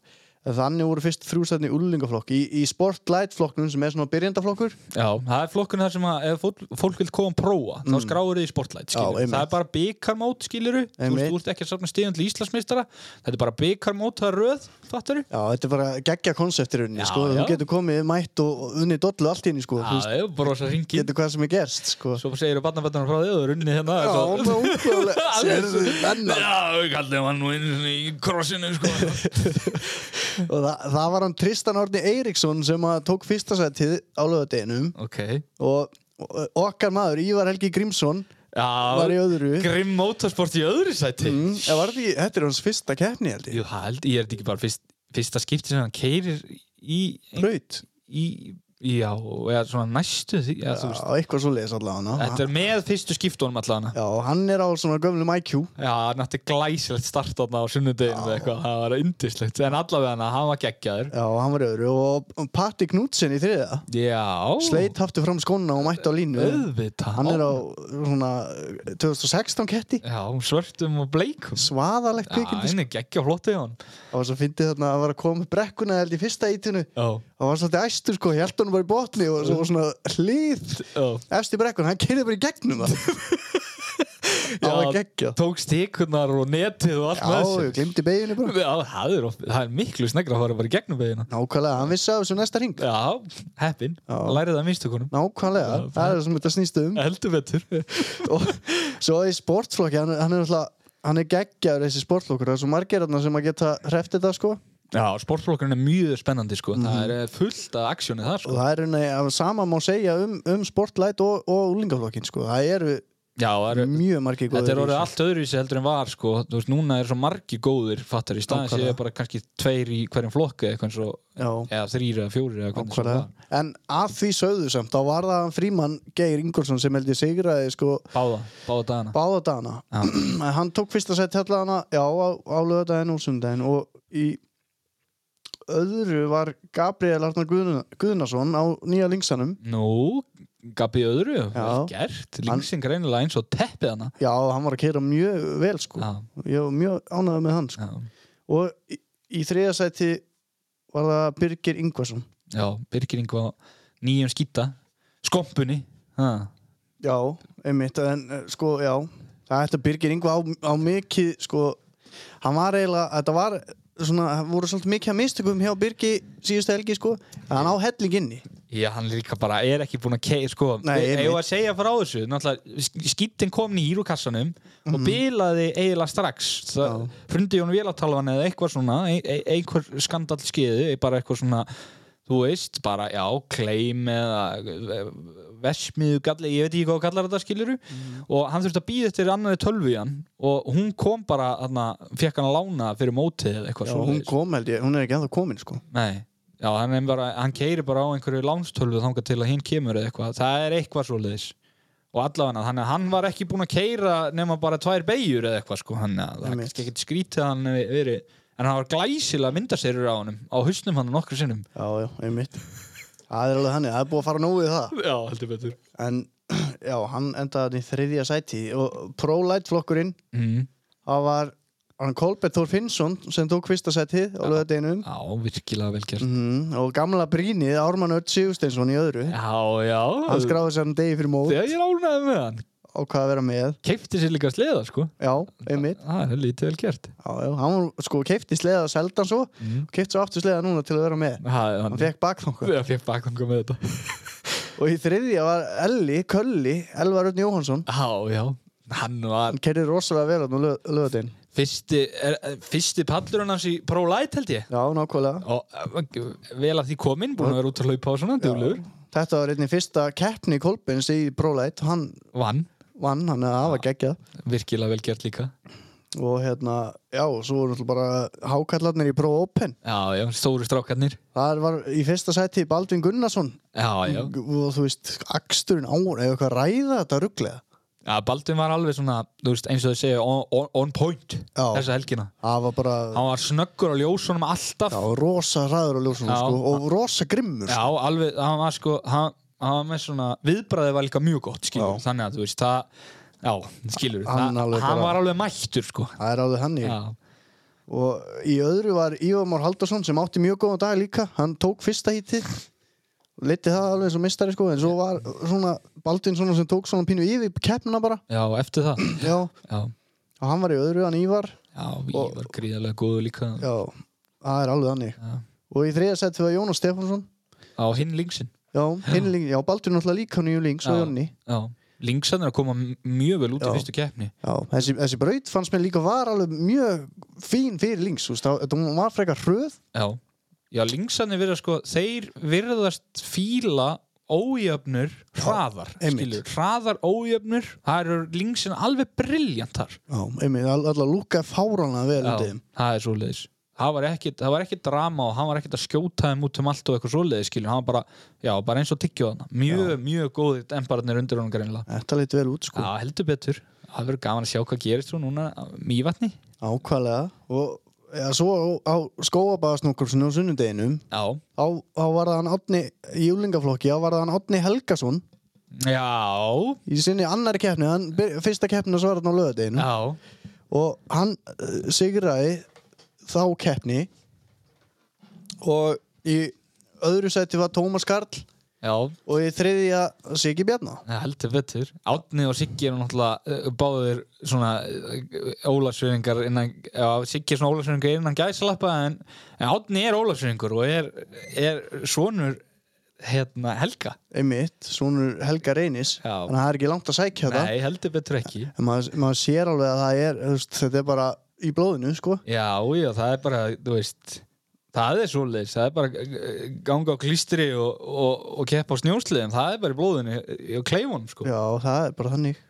Speaker 1: þannig voru fyrst þrjústæðni í úlingaflokk í, í sportlight flokknum sem er svona byrjandaflokkur
Speaker 3: Já, það er flokkun þar sem að ef fólk, fólk vil koma að prófa, þá skráir þið í sportlight skilurðu.
Speaker 1: Mm. Já, einmitt.
Speaker 3: það er bara byggarmót, skilur þú veist,
Speaker 1: Einmitt.
Speaker 3: þú ert ekki að safna stíðan til Íslandsmeistara þetta er bara byggarmót, það er röð, fattar þú?
Speaker 1: Já, þetta er bara geggja konseptirunni,
Speaker 3: Já,
Speaker 1: sko,
Speaker 3: já.
Speaker 1: þú getur komið mætt og og unnið dollu allt inn í, sko, þú veist,
Speaker 3: Já, brosa ringin
Speaker 1: getur hvað sem er gerst, sko.
Speaker 3: Svo segir þú barnabættunar frá þig og runni hérna
Speaker 1: Já,
Speaker 3: svo-
Speaker 1: það er ótrúlega, sérðu menna.
Speaker 3: Já, við kallum hann nú einu sinni í krossinu sko
Speaker 1: Og það, það var hann Tristan Árni Eiríksson sem að tók fyrsta sætið á lögadeginum
Speaker 3: Ok
Speaker 1: og, og okkar maður, Ívar Helgi Grímsson,
Speaker 3: Já,
Speaker 1: var í öðru.
Speaker 3: Grimm Motorsport í öðru sæti
Speaker 1: Mm, eða var því, þetta er hans fyrsta keppni, held ég.
Speaker 3: Jú, það held, ég er þetta ekki bara fyrst, fyrsta skipti sem hann keirir í, í,
Speaker 1: Braut,
Speaker 3: í Já, eða svona næstu því eða, þú
Speaker 1: já,
Speaker 3: veist,
Speaker 1: eitthvað svo leiðis allavega
Speaker 3: Þetta
Speaker 1: hana.
Speaker 3: er með fyrstu skiptunum allavega
Speaker 1: Já, hann er á svona gömlum IQ.
Speaker 3: Já, hann átti glæsilegt start þarna á sunnudeginu eða eitthvað, það var yndislegt En allavega hann, hann var geggjaður
Speaker 1: Já, hann var í öðru og og Patti Knudsen í þriða.
Speaker 3: Já
Speaker 1: Sleit hafti fram skóna og mætti á línu.
Speaker 3: Auðvitað
Speaker 1: Hann er á svona eh, 2016 ketti
Speaker 3: Já, svörtum og bleikum
Speaker 1: Svaðalegt
Speaker 3: Já,
Speaker 1: kvikindi sko.
Speaker 3: hann er geggja flottið hann
Speaker 1: Það var svo fyndið þarna að það var að koma með brekkuna held í fyrsta ítinu
Speaker 3: Já,
Speaker 1: Það var svolítið æstur sko, held hann bara í botni og svo var svona hlýð
Speaker 3: já
Speaker 1: efst í brekkuna, hann kerði bara í gegnum það Það var geggja
Speaker 3: Tók stíkunar og netið og allt
Speaker 1: Já,
Speaker 3: með
Speaker 1: ég glimti beginu bara
Speaker 3: Já, það er, of- það er miklu snegra að fara bara í gegnum beðina
Speaker 1: Nákvæmlega, hann vissi af þessu næsta ring
Speaker 3: Já, heppin,
Speaker 1: Já.
Speaker 3: lærið það minnstökunum
Speaker 1: Nákvæmlega,
Speaker 3: Já,
Speaker 1: það er það sem þetta snýst um
Speaker 3: Heldur betur
Speaker 1: og svo í sportflokki, hann, hann er náttúrulega hann er geggjaður þessi sportflokkur það er svo margir þarna sem að geta hreft þetta sko
Speaker 3: Já, sportflokkurinn er mjög spennandi sko Það er fullt af aksjónið þar
Speaker 1: Mhm. og
Speaker 3: sko
Speaker 1: það er rauninni að sama má segja um, um sportlæt og, og úlingaflokkin sko. það eru
Speaker 3: Já, það er,
Speaker 1: mjög margir góðir
Speaker 3: þetta er
Speaker 1: í
Speaker 3: orðið
Speaker 1: þessu.
Speaker 3: allt öðruvísi heldur en var sko Þú veist, núna er svo margi góðir fattar í staðin
Speaker 1: Nákvæmlega.
Speaker 3: séu bara kannski tveir í hverjum flokku eða, eitthvað eins og-
Speaker 1: Já,
Speaker 3: eða þrýr eða fjórir eða hvernig sem
Speaker 1: ákvarða.
Speaker 3: það
Speaker 1: en að því sögðu samt þá var það hann frímann Geir Ingolson sem held ég sigraði sko
Speaker 3: Báða, báða dagana
Speaker 1: báða dana hann tók fyrsta sett hellana já, á, á lögadaginn og sundaginn og í öðru var Gabriel Arnar Guðna, Guðnason á nýja linksanum
Speaker 3: Nú, Gabi öðru, vel
Speaker 1: Já.
Speaker 3: gert Lingsinn greinilega eins og teppið hana
Speaker 1: já, hann var að keira mjög vel sko
Speaker 3: Já,
Speaker 1: ég var mjög ánægð með hann sko.
Speaker 3: já,
Speaker 1: og í, í þriða sæti var það Birgir Ingvarsson
Speaker 3: já Birgir Ingvar nýjum skýta Skompunni ha.
Speaker 1: Já, einmitt, en eh, sko, já það ætti að Birgir Ingva á, á mikið sko, hann var eiginlega þetta var svona, það voru svolítið mikið að mistökum hjá Birgi síðustu helgi sko, en hann á helling inni
Speaker 3: Já, hann líka bara er ekki búin að keið sko,
Speaker 1: Nei,
Speaker 3: Við-
Speaker 1: einmitt.
Speaker 3: eigum að segja frá þessu náttúrulega, skýttin kom nýr úr kassanum og bilaði eiginlega strax það
Speaker 1: Mhm. Já.
Speaker 3: hrundi hún vélatalvan eða eitthvað svona e e einhver skandall skeiðu, bara eitthvað svona þú veist, bara, já, kleim eða vesmiðu galli, ég veit ekki hvað þú kallar þetta skiluru
Speaker 1: Mhm.
Speaker 3: og hann þurfti að býða eftir annaði tölvu í hann og hún kom bara, þarna, fekk hann að lána fyrir mótið eða eitthvað
Speaker 1: Já,
Speaker 3: svoleiðis.
Speaker 1: hún kom held ég, hún er ekki ennþá komin sko
Speaker 3: Nei, já, hann, er bara, hann keiri bara á einhverju lánstölvu þangað til að hinn kemur eða eitthvað, það er eitthvað svoleiðis og allavega hann, hann var ekki búinn að keira nema bara tvær beigjur eða eitthvað sko, hann, það er
Speaker 1: Einmitt.
Speaker 3: kannski ekkert skrítið að hann hafi verið, en hann var glæsilega myndaserjur á honum, á hausnum hann nokkru sinnum
Speaker 1: Já, já, einmitt Það er alveg þannig, það er búið að fara nógu í það
Speaker 3: Já, heldur betur
Speaker 1: En já, hann endaði í þriðja sæti og pro-light flokkurinn
Speaker 3: mm.
Speaker 1: það var hann Kolbert Þór Finnsson sem tók fyrsta sætið á löðadeginum
Speaker 3: Já, virkilega vel gert
Speaker 1: mm, og gamla brínið Ármann Ört Sigursteinsson í öðru
Speaker 3: Já, já
Speaker 1: hann skráði sér hann degi fyrir mót
Speaker 3: Þegar ég ránaði með hann
Speaker 1: og hvað að vera með
Speaker 3: Keipti sér líka sleða, sko
Speaker 1: já, einmitt,
Speaker 3: Það er lítið vel gert
Speaker 1: já, já, hann var sko keifti sleða og seldan svo
Speaker 3: Mhm.
Speaker 1: og keifti svo aftur sleða núna til að vera með
Speaker 3: Það
Speaker 1: hann fekk bakþóngu
Speaker 3: Þegar fekk bakþanga með þetta
Speaker 1: og í þriðja var Elli, Kölli, Elvar Örn Jóhansson
Speaker 3: Já, já Hann var
Speaker 1: hann kerði rosalega vel hann á löðadegin
Speaker 3: fyrsti, er, fyrsti pallurinn hans í Pro Light held ég
Speaker 1: já, nákvæmlega
Speaker 3: Og eh, vel að því kominn Búin að vera út að laupa á svona duglegur
Speaker 1: þetta var einnig fyrsta keppni Kolbins í ProLight hann
Speaker 3: Vann,
Speaker 1: vann, hann að hafa geggjað
Speaker 3: virkilega vel gert líka
Speaker 1: og hérna, já, svo voru náttúrulega bara hákallarnir í Pro Open
Speaker 3: Já, já, stóru strákarnir
Speaker 1: það var í fyrsta sæti Baldvin Gunnarsson
Speaker 3: Já, já
Speaker 1: og þú veist, aksturinn á hún eða eitthvað ræða þetta rugglega
Speaker 3: Já, Baldvin var alveg svona, þú veist, eins og þau segja on, on, on point
Speaker 1: Já.
Speaker 3: þessa helgina
Speaker 1: það var bara,
Speaker 3: Hann var snöggur á ljósunum alltaf
Speaker 1: já, rosa ræður og ljósunum,
Speaker 3: Já.
Speaker 1: sko, og rosa grimmur
Speaker 3: Já,
Speaker 1: sko.
Speaker 3: alveg, hann var sko hann, hann var með svona, viðbræði var líka mjög gott skilur,
Speaker 1: Já.
Speaker 3: þannig að þú veist, það Já, skilur,
Speaker 1: Hann
Speaker 3: hann,
Speaker 1: alveg
Speaker 3: hann
Speaker 1: bara-
Speaker 3: var alveg mættur sko
Speaker 1: það er alveg hann í
Speaker 3: Já,
Speaker 1: og í öðru var Ívar Már Haldarsson sem átti mjög góðan dag líka, hann tók fyrsta hítið liti það alveg eins og mistari sko, en svo var svona Baldvin svona sem tók svona pínu yfir keppnina bara,
Speaker 3: já eftir það
Speaker 1: já og
Speaker 3: Já,
Speaker 1: hann var í öðru, hann Ívar
Speaker 3: já, ég var gríðarlega góður líka
Speaker 1: já, það er alveg þannig
Speaker 3: Já.
Speaker 1: og í þriða seti var Jónas Stefánsson
Speaker 3: á hinn lingsinn
Speaker 1: Já, hinn líng, já, Baldur náttúrulega líka nýju líng, svo
Speaker 3: Já.
Speaker 1: Jónni
Speaker 3: Já, lingsann er að koma m- mjög vel út
Speaker 1: Já.
Speaker 3: í fyrstu keppni
Speaker 1: Já, þessi, þessi braut fannst mér líka var alveg mjög fín fyrir língs, þú veist, þá- þetta hún var frekar hröð
Speaker 3: Já, já, linksann er verið sko þeir virðast fíla ójöfnur hraðar
Speaker 1: einmitt.
Speaker 3: skilur, hraðar ójöfnur það eru lingsinn alveg briljantar
Speaker 1: Já, einmitt, all, alltaf lúka fárana vel undir þeim
Speaker 3: það er svoleiðis það var ekkit, það var ekkit drama og hann var ekkit að skjóta þeim út um allt og eitthvað svoleiðis skilur, hann var bara, já, bara eins og tyggjóðana mjög, mjög góðir dembararnir undir honum greinlega
Speaker 1: Þetta leit vel út, sko,
Speaker 3: Já, heldur betur það verður gaman að sjá hvað gerist þú núna á mývatni
Speaker 1: ákvælega og já, svo á, á skóabasnokkursinu á sunnudeginum
Speaker 3: Já,
Speaker 1: á, á var það hann Átni í júlingaflokki, á var það hann Átni Helgason
Speaker 3: já,
Speaker 1: í sinni annari keppni, hann, byr- fyrsta keppni svo var hann á löðadeginu
Speaker 3: já
Speaker 1: og hann uh, sigraði þá keppni og í öðru sæti var Tómas Karl
Speaker 3: Já,
Speaker 1: og í þriðja Siggi Bjarná
Speaker 3: það heldur betur Átni og Siggi eru náttúrulega eh, báðir svona ólagsvinningar innan, já, Siggi er svona ólagsvinningar innan gæsalappa en, en Átni er ólagsvinningur og er, er sonur hérna Helga
Speaker 1: einmitt, svonur Helga Reynis
Speaker 3: Já.
Speaker 1: þannig að það er ekki langt að sækja þetta
Speaker 3: Nei, heldur betur ekki
Speaker 1: en maður, maður sér alveg að það er þú veist, þetta er bara í blóðinu sko
Speaker 3: Já, já, það er bara, þú veist Það er svoleiðis, það er bara eh, ganga á klístri og, og, og keppa á snjósliðum, það er bara í blóðinu eh, og kleifunum, sko.
Speaker 1: já, það er bara þannig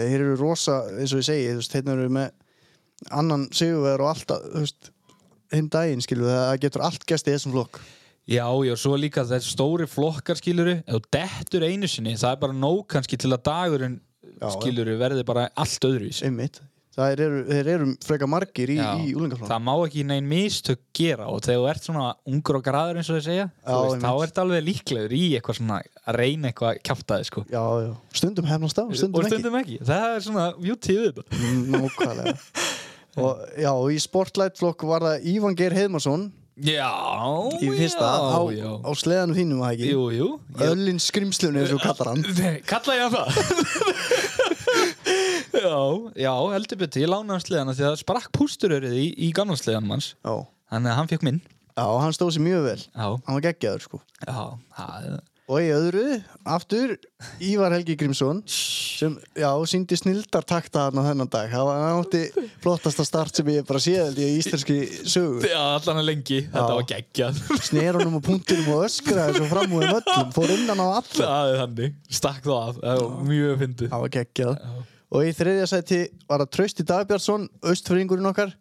Speaker 1: þeir eru rosa, eins og ég segi þú veist, þeir eru með annan sigurverð og alltaf þú veist, hinn daginn skilur við, það getur allt gæst í þessum flokk
Speaker 3: Já, já, svo líka þessi stóri flokkar skiluru, ef þú dettur einu sinni, það er bara nóg kannski til að dagurinn
Speaker 1: Já, já.
Speaker 3: skiluru verði bara allt öðruvísi.
Speaker 1: einmitt, það eru, þeir eru freka margir í,
Speaker 3: Já.
Speaker 1: í úlingaflokk
Speaker 3: Það má ekki neinn mistök gera og þegar þú ert svona ungur og graður eins og þau segja, þú
Speaker 1: Já,
Speaker 3: veist,
Speaker 1: einmitt.
Speaker 3: þá ert alveg líklegur í eitthvað svona að reyna eitthvað að kjafta þið, sko.
Speaker 1: já, já, stundum hefnast á, stundum,
Speaker 3: og stundum ekki. Það er svona beauty við þetta.
Speaker 1: ekki nákvæmlega og já, og í sportlætflokk var það Ívan Geir Heimarsson
Speaker 3: Já,
Speaker 1: í fyrsta á,
Speaker 3: já, já.
Speaker 1: á sleðanum þínum var það ekki
Speaker 3: Jú, jú. Ég,
Speaker 1: Öllin skrimslun eins og þú kallar hann
Speaker 3: Nei, kalla ég hann það? já, já, heldur betur, ég lána hans sleðana því að það sprakk pústurörið í, í gamla sleðanum hans.
Speaker 1: Já,
Speaker 3: Þannig að hann fekk minn.
Speaker 1: já hann stóð sér mjög vel
Speaker 3: Já,
Speaker 1: Hann var geggjaður sko
Speaker 3: já, það,
Speaker 1: Og í öðru, aftur, Ívar Helgi Grímsson sem, já, síndi snildartakta hann á þennan dag. Það var hann átti flottasta start sem ég hef bara séð held ég í íslenski sögu.
Speaker 3: Já, allan að lengi, þetta
Speaker 1: Já.
Speaker 3: var geggjað
Speaker 1: Snerunum og punktinum og öskraði svo fram úr þeim öllum, fór innan á alla.
Speaker 3: Það er þannig, stakk það af Það var mjög fyndið
Speaker 1: Það var geggjað. Og í þriðja sæti var að Trausti Dagbjörnsson, austfyrringurinn okkar.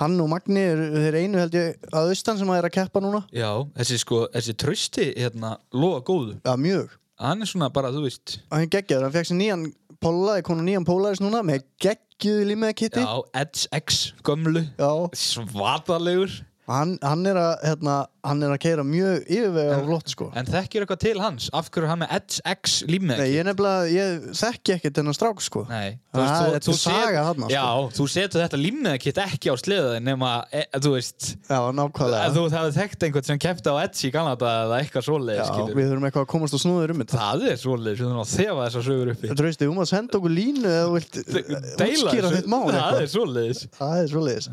Speaker 1: Hann og Magni eru þeir einu held ég að austan sem að er að keppa núna.
Speaker 3: Já, þessi sko, þessi trösti hérna, loga góðu,
Speaker 1: Já, mjög.
Speaker 3: hann er svona bara, þú veist
Speaker 1: Og hann geggjaður, hann fekk sér nýjan Pólaði, konu nýjan Polaris núna með geggjuðu límiðakitti.
Speaker 3: Já, Edge X, gömlu
Speaker 1: Já.
Speaker 3: Svatalegur
Speaker 1: Hann, hann er að, hérna, hann er að keira mjög yfirvega og flott sko.
Speaker 3: En þekkir eitthvað til hans, af hverju er hann með Edge X límið
Speaker 1: Nei, ég nefnilega, ég þekki ekkert þennan strák sko.
Speaker 3: Nei,
Speaker 1: Það er til saga þarna, sko.
Speaker 3: Já, þú setur þetta límnaðkitt ekki á sleðaði nema, e, þú veist
Speaker 1: Já,
Speaker 3: að
Speaker 1: nákvæmlega.
Speaker 3: þú hefði þekkt einhvern sem kefti á Edge í Kanada eða eitthvað
Speaker 1: Já,
Speaker 3: svoleiðis, skilur
Speaker 1: við þurfum eitthvað að komast og snúður um þetta.
Speaker 3: Það er svoleiðis, við þurfum að þefa þessar sögur uppi
Speaker 1: Trausti, þú maður senda okkur línu eða þú vilt eh,
Speaker 3: Deila
Speaker 1: útskýra
Speaker 3: þessu.
Speaker 1: þitt mál
Speaker 3: Það
Speaker 1: eitthvað.
Speaker 3: er svoleiðis
Speaker 1: Það er svoleiðis.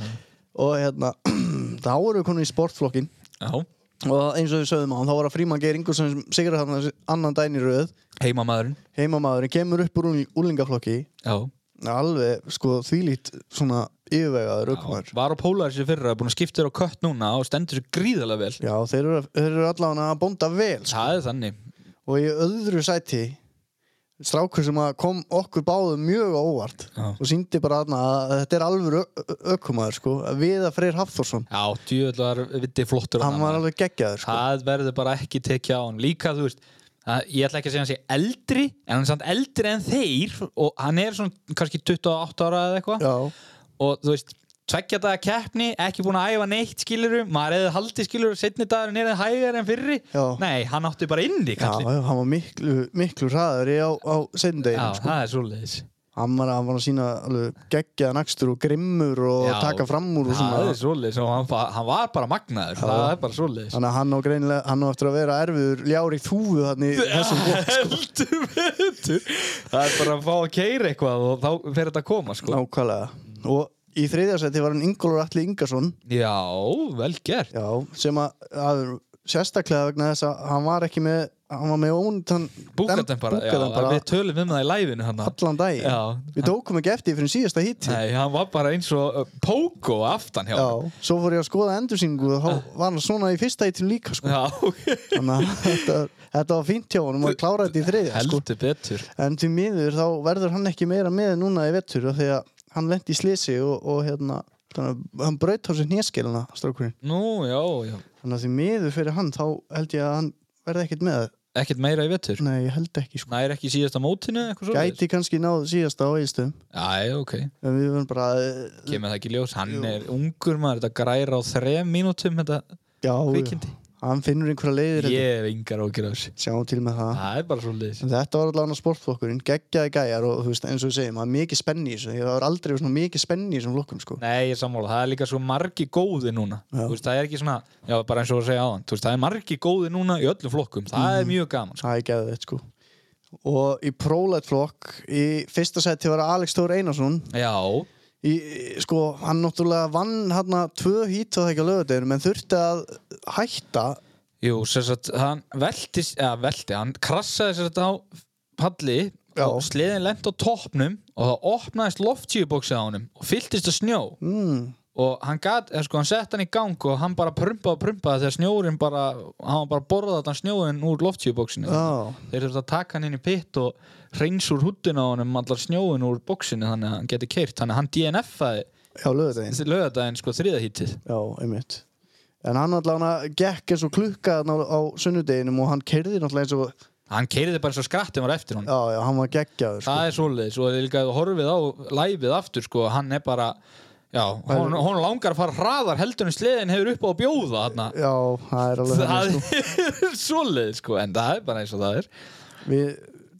Speaker 1: Og hérna, þá erum við konum í sportflokkin
Speaker 3: Já,
Speaker 1: og eins og við sögðum á hann, þá var að Fríman Geir Ingúlsson sem sigra þarna annan dæn í röð,
Speaker 3: heimamaðurinn
Speaker 1: heimamaðurinn, kemur upp úr úlingaflokki,
Speaker 3: Já
Speaker 1: alveg sko þvílít svona yfirvegaður aukumar.
Speaker 3: Já, var á Polaris í fyrra, búin að skipta þér á kött núna og stendur sér gríðarlega vel
Speaker 1: Já, þeir eru, þeir eru allavega að bonda vel sko.
Speaker 3: það er þannig
Speaker 1: og í öðru sæti strákur sem að kom okkur báðum mjög á óvart
Speaker 3: Já.
Speaker 1: og síndi bara aðna að þetta er alveg aukumæður sko, Viða Freyr Hafþórsson
Speaker 3: já, djúðlar viti flottur
Speaker 1: hann var alveg geggjaður sko.
Speaker 3: það verður bara ekki tekið á hann líka, þú veist að, ég ætla ekki að segja hann sé eldri en hann er samt eldri en þeir og hann er svona kannski 28 ára eða eitthvað
Speaker 1: Já,
Speaker 3: og þú veist tveggja daga keppni, ekki búin að æfa neitt skiluru, maður hefði haldið skiluru setni dagur er eða hægar en fyrri
Speaker 1: Já.
Speaker 3: nei, hann átti bara inn í
Speaker 1: já,
Speaker 3: kallin já,
Speaker 1: já, hann var miklu, miklu hraður í á, á sendeginu sko.
Speaker 3: það er svoleiðis
Speaker 1: hann, var- hann var að sína alveg geggjaðan akstur og grimmur og
Speaker 3: Já,
Speaker 1: taka fram úr og
Speaker 3: það
Speaker 1: svona
Speaker 3: er svoleiðis og hann, fa- hann var bara magnaður, það er bara svoleiðis
Speaker 1: Þannig að hann á greinilega, hann á eftir að vera erfiður ljári þúfu þannig í þessum sko. bók
Speaker 3: heldur betur það er bara að fá að keira eitthvað og þá fer þetta að koma sko.
Speaker 1: Nákvæmlega Og í þriðja seti var hann Ingólfur Atli Ingarsson
Speaker 3: já, vel gert
Speaker 1: Já, sem að, að sérstaklega vegna þess að hann var ekki með hann var með ónýtan
Speaker 3: búkaðan bara, já,
Speaker 1: búkaðan bara
Speaker 3: við tölum um það í læfinu hann
Speaker 1: allan dag
Speaker 3: Já.
Speaker 1: Við tókum ekki eftir fyrir síðasta hitti
Speaker 3: Nei, hann var bara eins og uh, Pogo aftan hjá
Speaker 1: Já,
Speaker 3: honum.
Speaker 1: svo fór ég að skoða endursýningu og þá var hann svona í fyrsta hitti líka sko.
Speaker 3: já ok.
Speaker 1: Þannig að þetta, þetta var fínt hjá honum að klára þetta í þriðja sko.
Speaker 3: heldur betur
Speaker 1: En því miður þá verður hann ekki meira með núna í vettur af því að hann lendi í slisi og, og hérna, þannig, að hann braut á sér hnéskelina strákurinn.
Speaker 3: nú, já, já
Speaker 1: Þannig að því miður fyrir hann þá held ég að hann verði ekkert með.
Speaker 3: ekkert meira í vetur
Speaker 1: Nei, ég held ekki sko.
Speaker 3: nær ekki í síðasta mótinu eitthvað svo
Speaker 1: Gæti kannski náðu síðasta á eilstum
Speaker 3: já, ok
Speaker 1: en við verðum bara eh,
Speaker 3: kemur það ekki í ljós hann
Speaker 1: Jú.
Speaker 3: er ungur maður þetta græra á þrem mínútum þetta
Speaker 1: já, já,
Speaker 3: kvikindi
Speaker 1: hann finnur einhverja leiðir
Speaker 3: ég
Speaker 1: yeah.
Speaker 3: hef yngar ágjur á þessu
Speaker 1: sjáum til með það.
Speaker 3: það er bara svo leiðis
Speaker 1: En þetta var allavega sportflokkurinn, geggjaði gæjar og þú veist, eins og við segjum, það er mikið spenni í þessu. Ég var aldrei verið svona mikið spenni í þessum flokkum sko.
Speaker 3: Nei, ég er sammála, það er líka svo margi góði núna
Speaker 1: Já.
Speaker 3: Þú veist, það er ekki svona, já, bara eins og að segja áðan Þú veist, það er margi góði núna í öllum flokkum Það
Speaker 1: Mhm.
Speaker 3: er mjög gaman sko.
Speaker 1: Það er geðveitt sko Og í prólætt flokk Í fyrsta seti var Alex Þór Einarsson
Speaker 3: Já,
Speaker 1: í, Sko, hann náttúrulega vann hérna tvö hít og það ekki á lögudeginum En þurfti að hætta
Speaker 3: jú, sem sagt, hann velti eða velti, hann krassaði sem sagt á palli
Speaker 1: Já.
Speaker 3: og sliðin lent á toppnum og það opnaðist loftsjúbóksið á honum og fylltist að snjó
Speaker 1: mm,
Speaker 3: og hann gat, eða sko, hann sett hann í gang og hann bara prumpaði og prumpaði þegar snjórin bara, hann var bara borðað þann snjóin úr loftsjúbóksinu
Speaker 1: Já,
Speaker 3: þeir þurftu að taka hann inn í pitt og reyns úr húddun á hann um allar snjóin úr bóksinu þannig að hann geti keirt þannig að hann DNF-aði
Speaker 1: á lögudegin
Speaker 3: lögadaginn sko þriðahítið
Speaker 1: Já, einmitt En hann náttúrulega gekk eins og klukka þarna á, á sunnudeginum Og hann kerði náttúrulega eins og
Speaker 3: hann keiriði bara eins og skrattum var eftir hann
Speaker 1: Já, já, hann var geggjaður sko.
Speaker 3: það er svoleiðis og líka ef þú horfið á læfið aftur sko hann er bara já, hon, hon langar að fara hraðar heldur en sleðin hefur upp á að bjóða þarna
Speaker 1: Já, það er alveg
Speaker 3: það
Speaker 1: hann sko.
Speaker 3: er svoleiðis sko en það er bara eins og það er
Speaker 1: Við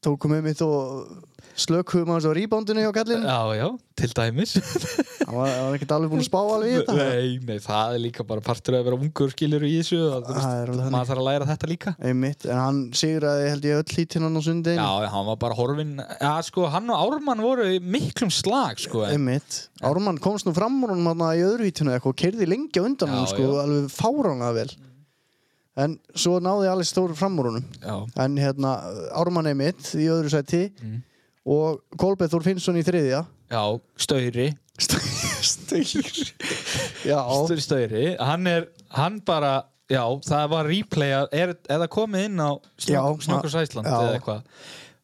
Speaker 1: tókum um mitt og slökum hans á reboundinu hjá kallinu
Speaker 3: já já, til dæmis
Speaker 1: Hann var, hann var ekkert alveg búin að spá alveg í þetta
Speaker 3: nei, nei, það er líka bara partur af að vera ungur skilur í þessu að, þú
Speaker 1: Það er
Speaker 3: veist,
Speaker 1: alveg þannig.
Speaker 3: maður þarf að læra þetta líka
Speaker 1: Einmitt, en hann sigraði held ég öll hítinn hann á sundin
Speaker 3: Já, hann var bara horfinn Já, sko, hann og Ármann voru í miklum slag sko, en,
Speaker 1: Einmitt, Ármann komst nú fram úr honum hann í öðru hítinu eitthvað og kerði lengi á undan
Speaker 3: Já,
Speaker 1: hann sko,
Speaker 3: já.
Speaker 1: alveg fáránlega vel en svo náði Alex Þór fram úr honum
Speaker 3: já,
Speaker 1: en hérna Ármann Emmitt í öðru sæti
Speaker 3: Mm.
Speaker 1: og Kolbeð Þór Finnsson í þriðja
Speaker 3: já, Stöyri
Speaker 1: Styr Já,
Speaker 3: Stöyri Stöyri, hann er hann bara, já, það var replay að- er, eða komið inn á
Speaker 1: Já,
Speaker 3: Snokurs
Speaker 1: ma-
Speaker 3: Æsland
Speaker 1: já.
Speaker 3: eða eitthvað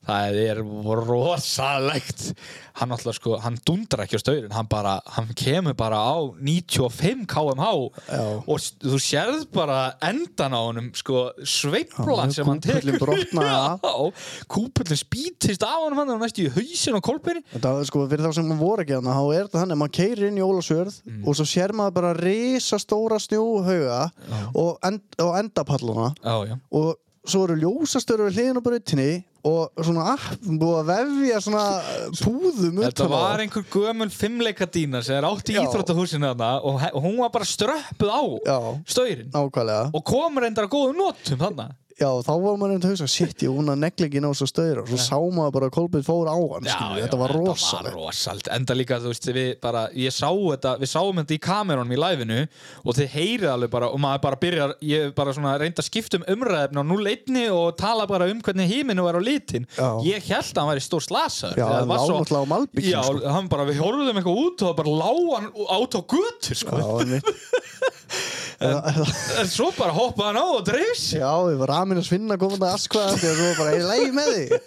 Speaker 3: það er rosalegt hann alltaf sko, hann dundar ekki á stöyrin hann bara, hann kemur bara á 95 kmh
Speaker 1: Já.
Speaker 3: og s- þú sérð bara endan á honum sko, sveiflan
Speaker 1: Já,
Speaker 3: sem hann
Speaker 1: kúpullin
Speaker 3: tekur
Speaker 1: brotnaði af.
Speaker 3: já, kúpullin spýtist af honum hann er næstu í hausin á kolbyrni
Speaker 1: þetta er sko fyrir þá sem maður voru ekki þannig þá er þetta þannig að maður keyrir inn í Ólasvörð
Speaker 3: Mm.
Speaker 1: og svo sér maður bara risa stóra snjóhauga og, end, og endapalluna
Speaker 3: já, já,
Speaker 1: og svo eru ljósastöru við hliðin á brautinni og svona app búið að vefja svona púðum
Speaker 3: Þetta
Speaker 1: utan á
Speaker 3: var
Speaker 1: það.
Speaker 3: einhver gömul fimmleikadína sem er átt í
Speaker 1: Já.
Speaker 3: íþróttahúsinu þarna og, he- og hún var bara ströppuð á
Speaker 1: Já.
Speaker 3: stöyrin
Speaker 1: Nákvæmlega
Speaker 3: og kom reyndar að góðum notum þarna
Speaker 1: Já, þá var maður einhvern veginn að hugsa, shit, ég hún að negli ekki ná svo stöður og svo sá maður bara að Kolbjörn fór á hann, skilur, þetta var
Speaker 3: Þetta
Speaker 1: rosalega.
Speaker 3: var rosalt, enda líka þú veist við bara, ég sá þetta, við sáum þetta í kamerunum í læfinu og þið heyrið alveg bara og maður bara byrjar, ég bara svona reynda skipt um umræðefni á 0-1 og tala bara um hvernig híminu var á litin
Speaker 1: Já.
Speaker 3: ég held að hann væri stór slasaður
Speaker 1: Já,
Speaker 3: því að
Speaker 1: hann
Speaker 3: var
Speaker 1: lá
Speaker 3: svo-
Speaker 1: náttúrulega á malbikinu,
Speaker 3: Já,
Speaker 1: sko.
Speaker 3: hann bara, við horfðum eitthvað út og það bara lá hann át á götur sko.
Speaker 1: Já, einmitt.
Speaker 3: en svo bara hoppaði hann á og dreif sig
Speaker 1: Já, við varum ramin að svinna komandi askvaðandi og svo bara, ég lægi með því,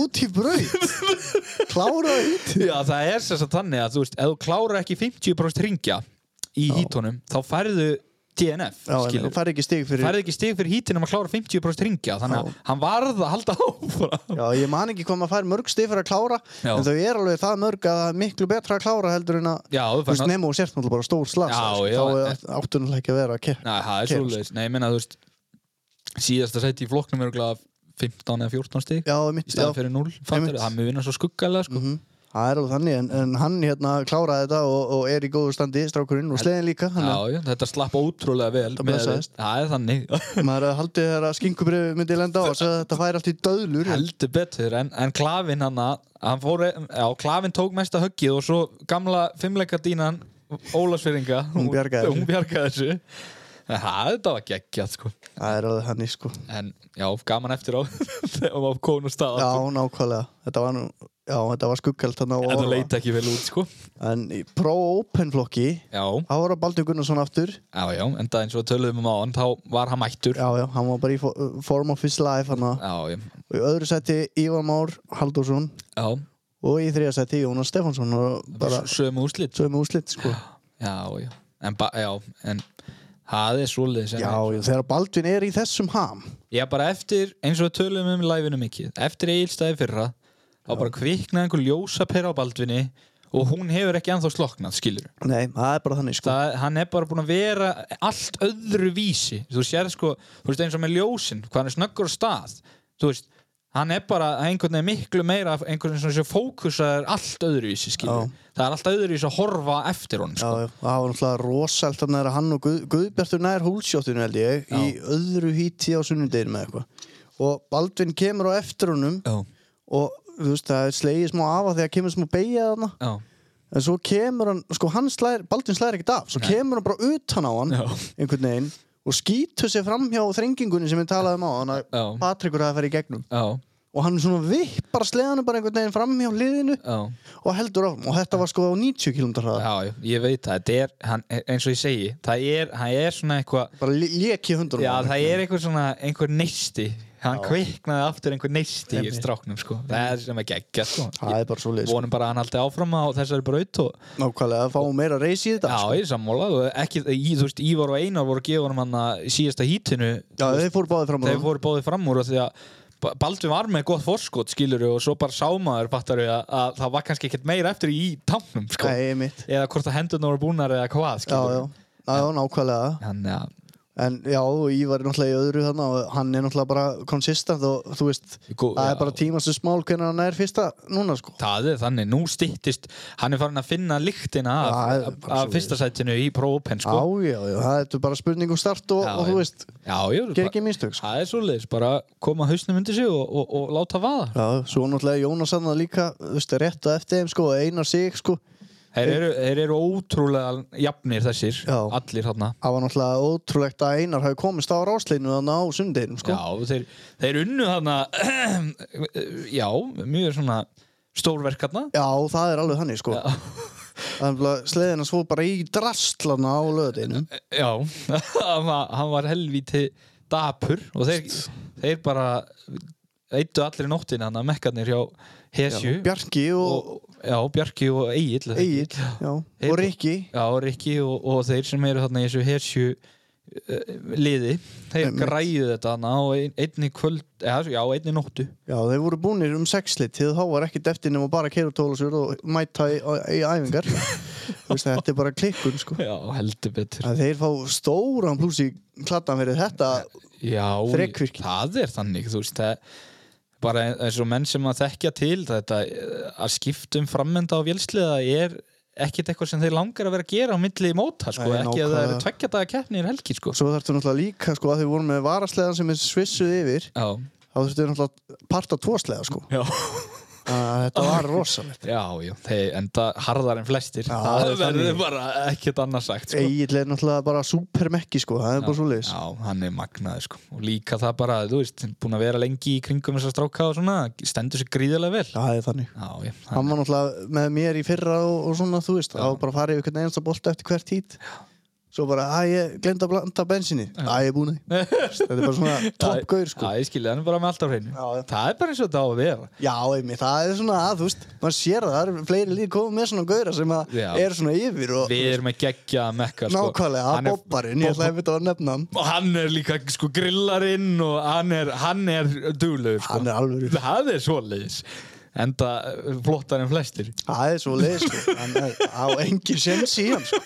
Speaker 1: út í braut, klára út.
Speaker 3: Já, það er sem sagt þannig að þú veist, ef þú klárar ekki 50% ringja í hítunum, þá færðu DNF,
Speaker 1: Já, en þú
Speaker 3: skilur.
Speaker 1: fær ekki stig fyrir,
Speaker 3: Færðu ekki stig fyrir hítinum að klára 50% ringja, þannig að
Speaker 1: Já.
Speaker 3: hann varð að halda áfram.
Speaker 1: já, ég man ekki hvað maður fær mörg stig fyrir að klára,
Speaker 3: Já.
Speaker 1: en þau er alveg það mörg að það er miklu betra að klára heldur en að,
Speaker 3: Já,
Speaker 1: þú
Speaker 3: þú
Speaker 1: veist,
Speaker 3: færðu að...
Speaker 1: nema og sért náttúrulega bara stór slasa,
Speaker 3: Já,
Speaker 1: sko,
Speaker 3: já, en-
Speaker 1: þá áttunlega ekki að vera að
Speaker 3: Næ,
Speaker 1: kera.
Speaker 3: það er
Speaker 1: Kemur.
Speaker 3: svolítið. Nei, ég menna, þú veist, síðasta seti í flokknum er örugglega 15 eða 14 stig
Speaker 1: Já, mitt,
Speaker 3: í
Speaker 1: já,
Speaker 3: staðan fyrir 0, fattur,
Speaker 1: Einmitt.
Speaker 3: það mun vinna svo skuggalega, sko.
Speaker 1: Mhm. Það er alveg þannig, en, en hann hérna kláraði þetta og, og er í góðu standi, strákurinn, og sleðin líka. Hann,
Speaker 3: Já, já, þetta slapp ótrúlega vel
Speaker 1: Það
Speaker 3: með við-
Speaker 1: blessaðist.
Speaker 3: Það er þannig
Speaker 1: Maður hefði haldið þegar að skinkubrið myndi lenda á, svo þetta fær allt í döðlur.
Speaker 3: heldur betur en, en klavin hann hann fór, e- já, klavin tók mesta höggið og svo gamla fimmleika dínan Ólasfyrringa,
Speaker 1: Hún bjargaði þessu.
Speaker 3: hún bjargaði þessu en það þetta var geggjað sko
Speaker 1: Það er alveg þannig, sko.
Speaker 3: en já, gaman eftir á þegar maður konu stað
Speaker 1: Já, nákvæmlega. Þetta var nú, já, þetta var skuggelt hann á
Speaker 3: sko. en það
Speaker 1: orða.
Speaker 3: leit ekki vel út sko
Speaker 1: En í pro-open flokki,
Speaker 3: já,
Speaker 1: þá var að Baldur Gunnarsson aftur.
Speaker 3: já, já, en það eins og við töluðum um á hann þá var hann mættur
Speaker 1: Já, já, hann var bara í fo- form of his life hann að.
Speaker 3: já, já,
Speaker 1: Og í öðru seti Ívar Már Haldursson
Speaker 3: já.
Speaker 1: og í þriða seti Jónas Stefánsson og bara
Speaker 3: S- sömu úrslit
Speaker 1: sömu úslit, sko.
Speaker 3: já, já, en, ba- já, en það er svoleiðis en-
Speaker 1: Já, já, þegar Baldvin er í þessum ham.
Speaker 3: Já, bara eftir, eins og við tölum um læfinu mikið Eftir eigilstæði fyrra Þá bara kviknaði einhver ljósa pera á baldvinni Og hún hefur ekki anþá sloknað, skilur
Speaker 1: Nei, það er bara þannig, sko.
Speaker 3: Það, hann er bara búin að vera allt öðru vísi Þú sér sko, þú veist eins og með ljósin Hvað hann er snöggur á stað Þú veist, hann er bara einhvern veginn miklu meira Einhvern veginn sem fókusar allt öðru vísi, skilur Það er allt öðru vísi að horfa eftir honum,
Speaker 1: Já,
Speaker 3: sko
Speaker 1: já, það var náttúrulega rosalt þannig að hann og Guð, Guðbjartur nær húlsjóttinu held ég í öðru híti á sunnundeginu með eitthvað og Baldvin kemur á eftir honum
Speaker 3: Já,
Speaker 1: og þú veist það er slegið smá af að þegar kemur smá beigja þarna
Speaker 3: já,
Speaker 1: en svo kemur hann, sko hann slær, Baldvin slær ekkert af svo kemur hann bara utan á hann
Speaker 3: Já.
Speaker 1: einhvern veginn og skýtur sér fram hjá þrengingunni sem við talaðum á hann að
Speaker 3: Já.
Speaker 1: Patrikur hafi farið í gegnum
Speaker 3: já,
Speaker 1: og hann svona vippar sleðanum bara einhvern veginn fram hjá hliðinu
Speaker 3: já
Speaker 1: og heldur áfram og þetta var sko á 90 km hraða
Speaker 3: Já, já, ég veit það, þetta er, hann, eins og ég segi, það er, hann er svona eitthvað,
Speaker 1: bara léki hundunum
Speaker 3: Já, það er einhver svona, einhver neisti Hann
Speaker 1: Já.
Speaker 3: kviknaði aftur einhver neisti í
Speaker 1: Einmitt.
Speaker 3: stráknum, sko Það er sem að gegja, sko
Speaker 1: Það er bara svo
Speaker 3: Ég
Speaker 1: leiðis.
Speaker 3: vonum bara að hann haldi áfram á þessari braut og
Speaker 1: Nákvæmlega, að fá meira reys í þetta.
Speaker 3: Já,
Speaker 1: sko.
Speaker 3: ég er sammála og ekki, í, þú veist, Ívar og Einar voru að gefa honum hann að síðasta hítinu
Speaker 1: Já, þeir fóru báðið fram á
Speaker 3: Þeir fóru bóðið fram úr og því að Ba- Baldvin var með gott forskot, skilur og svo bara sámaður, fattar við, að, að það var kannski ekkert meira eftir í tanknum, sko
Speaker 1: Nei, mitt.
Speaker 3: Eða hvort að hendurna voru búnar eða hvað,
Speaker 1: Já, já.
Speaker 3: skilur
Speaker 1: Já, já, nákvæmlega.
Speaker 3: Hann, ja,
Speaker 1: En já, og Ívar er náttúrulega í öðru þarna og hann er náttúrulega bara konsistent og þú veist,
Speaker 3: Gó-
Speaker 1: það
Speaker 3: já.
Speaker 1: er bara tímastu smál hvernig hann er fyrsta núna, sko.
Speaker 3: Það er þannig, nú styttist hann er farin að finna lyktina af,
Speaker 1: Já, það er bara
Speaker 3: af, af
Speaker 1: svoleiðis.
Speaker 3: fyrsta sætinu í Pro Open
Speaker 1: Já,
Speaker 3: sko.
Speaker 1: já, já, það er bara spurning um start og,
Speaker 3: Já,
Speaker 1: og
Speaker 3: já.
Speaker 1: þú veist,
Speaker 3: Já, ég,
Speaker 1: ger ekki mistök, sko.
Speaker 3: Það er svoleiðis, bara koma hausnum undir sig og, og, og láta vaða
Speaker 1: Já, svo náttúrulega Jónas hann líka, þú veist, rétt á eftir þeim, sko, og einar sig, sko.
Speaker 3: Þeir eru, þeir eru ótrúlega jafnir þessir,
Speaker 1: Já.
Speaker 3: allir þarna
Speaker 1: Það var náttúrulega ótrúlegt að Einar hafi komist á ráslinu þannig á sundeginum sko.
Speaker 3: Já, þeir, þeir unnu þarna Já, mjög svona stórverk þarna
Speaker 1: Já, það er alveg þannig sko. Þannig að sleðina svo bara í drastlana á löðinu.
Speaker 3: Já, hann var, hann var helvíti dapur og þeir, þeir bara eittu allir nóttina hann að mekkarnir hjá Hesju
Speaker 1: Bjarki og,
Speaker 3: eh, og, já, Bjarki og Egil
Speaker 1: og Egil já, og
Speaker 3: Þeir-
Speaker 1: Rikki.
Speaker 3: Já, Rikki og, og þeir sem eru þarna í þessu Hesju uh, liði þeir
Speaker 1: Einmitt.
Speaker 3: græðu þetta hann á ein, einni kvöld, eða, já, einni nóttu
Speaker 1: Já, þeir voru búnir um sexlit því þá var ekkert eftir nema bara að keira tólusur og mæta í, í æfingar Þú veist, þetta er bara klikkun sko.
Speaker 3: Já, heldur betur
Speaker 1: að þeir fá stóran plús í kladdan fyrir þetta
Speaker 3: Já,
Speaker 1: Þrekvirki.
Speaker 3: það er þannig þú veist, það bara eins og menn sem að þekkja til þetta eh, að skiptum frammenda á vélsliða er ekkit eitthvað sem þeir langar að vera að gera á milli móta, sko,
Speaker 1: Nei,
Speaker 3: ekki að það eru
Speaker 1: nákvæmlega.
Speaker 3: tveggja daga keppnir helgi, sko
Speaker 1: og svo þarftu náttúrulega líka sko, að þeir voru með varasleðan sem er svissuð yfir
Speaker 3: Já,
Speaker 1: þá þurftu þeir náttúrulega parta tósleða sko.
Speaker 3: já,
Speaker 1: að þetta var rosalegt
Speaker 3: já, þeir enda harðar en flestir,
Speaker 1: Já,
Speaker 3: það
Speaker 1: það er
Speaker 3: verður
Speaker 1: þannig.
Speaker 3: bara ekkit annars sagt, sko
Speaker 1: Egil er náttúrulega bara supermekki sko. það er bara svo leiðis
Speaker 3: Já, hann er magnaður sko og líka það bara, þú veist, búin að vera lengi í kringum þessar stráka og svona, stendur sér gríðilega vel
Speaker 1: það er þannig
Speaker 3: Já, já,
Speaker 1: hann var náttúrulega með mér í fyrra og, og svona þú veist, þá bara farið yfir hvernig einsta bolt eftir hvert hít svo bara, að ég glemd að blanda bensinni að ég er búin að því." þetta er bara svona toppgaur sko
Speaker 3: Já, ég skilja, hann er bara með allt á hreinu
Speaker 1: Já, já.
Speaker 3: Það er bara eins og þetta á að vera
Speaker 1: já, einmi, það er svona að, þú veist maður sér það, það er fleiri líð komið með svona gauðra sem að
Speaker 3: Já.
Speaker 1: er svona yfir og
Speaker 3: Við erum að gegja mekka sko.
Speaker 1: nákvæmlega,
Speaker 3: Hann
Speaker 1: að
Speaker 3: er-
Speaker 1: bobbarinn ég ætlaði að að nefna hann
Speaker 3: Og hann er líka sko grillarinn og hann er, hann er duglegur sko.
Speaker 1: hann er alveg,
Speaker 3: Það er svoleiðis Enda eh, flottar en flestir
Speaker 1: það er svo leið sko. hann er á engin sens í hann sko.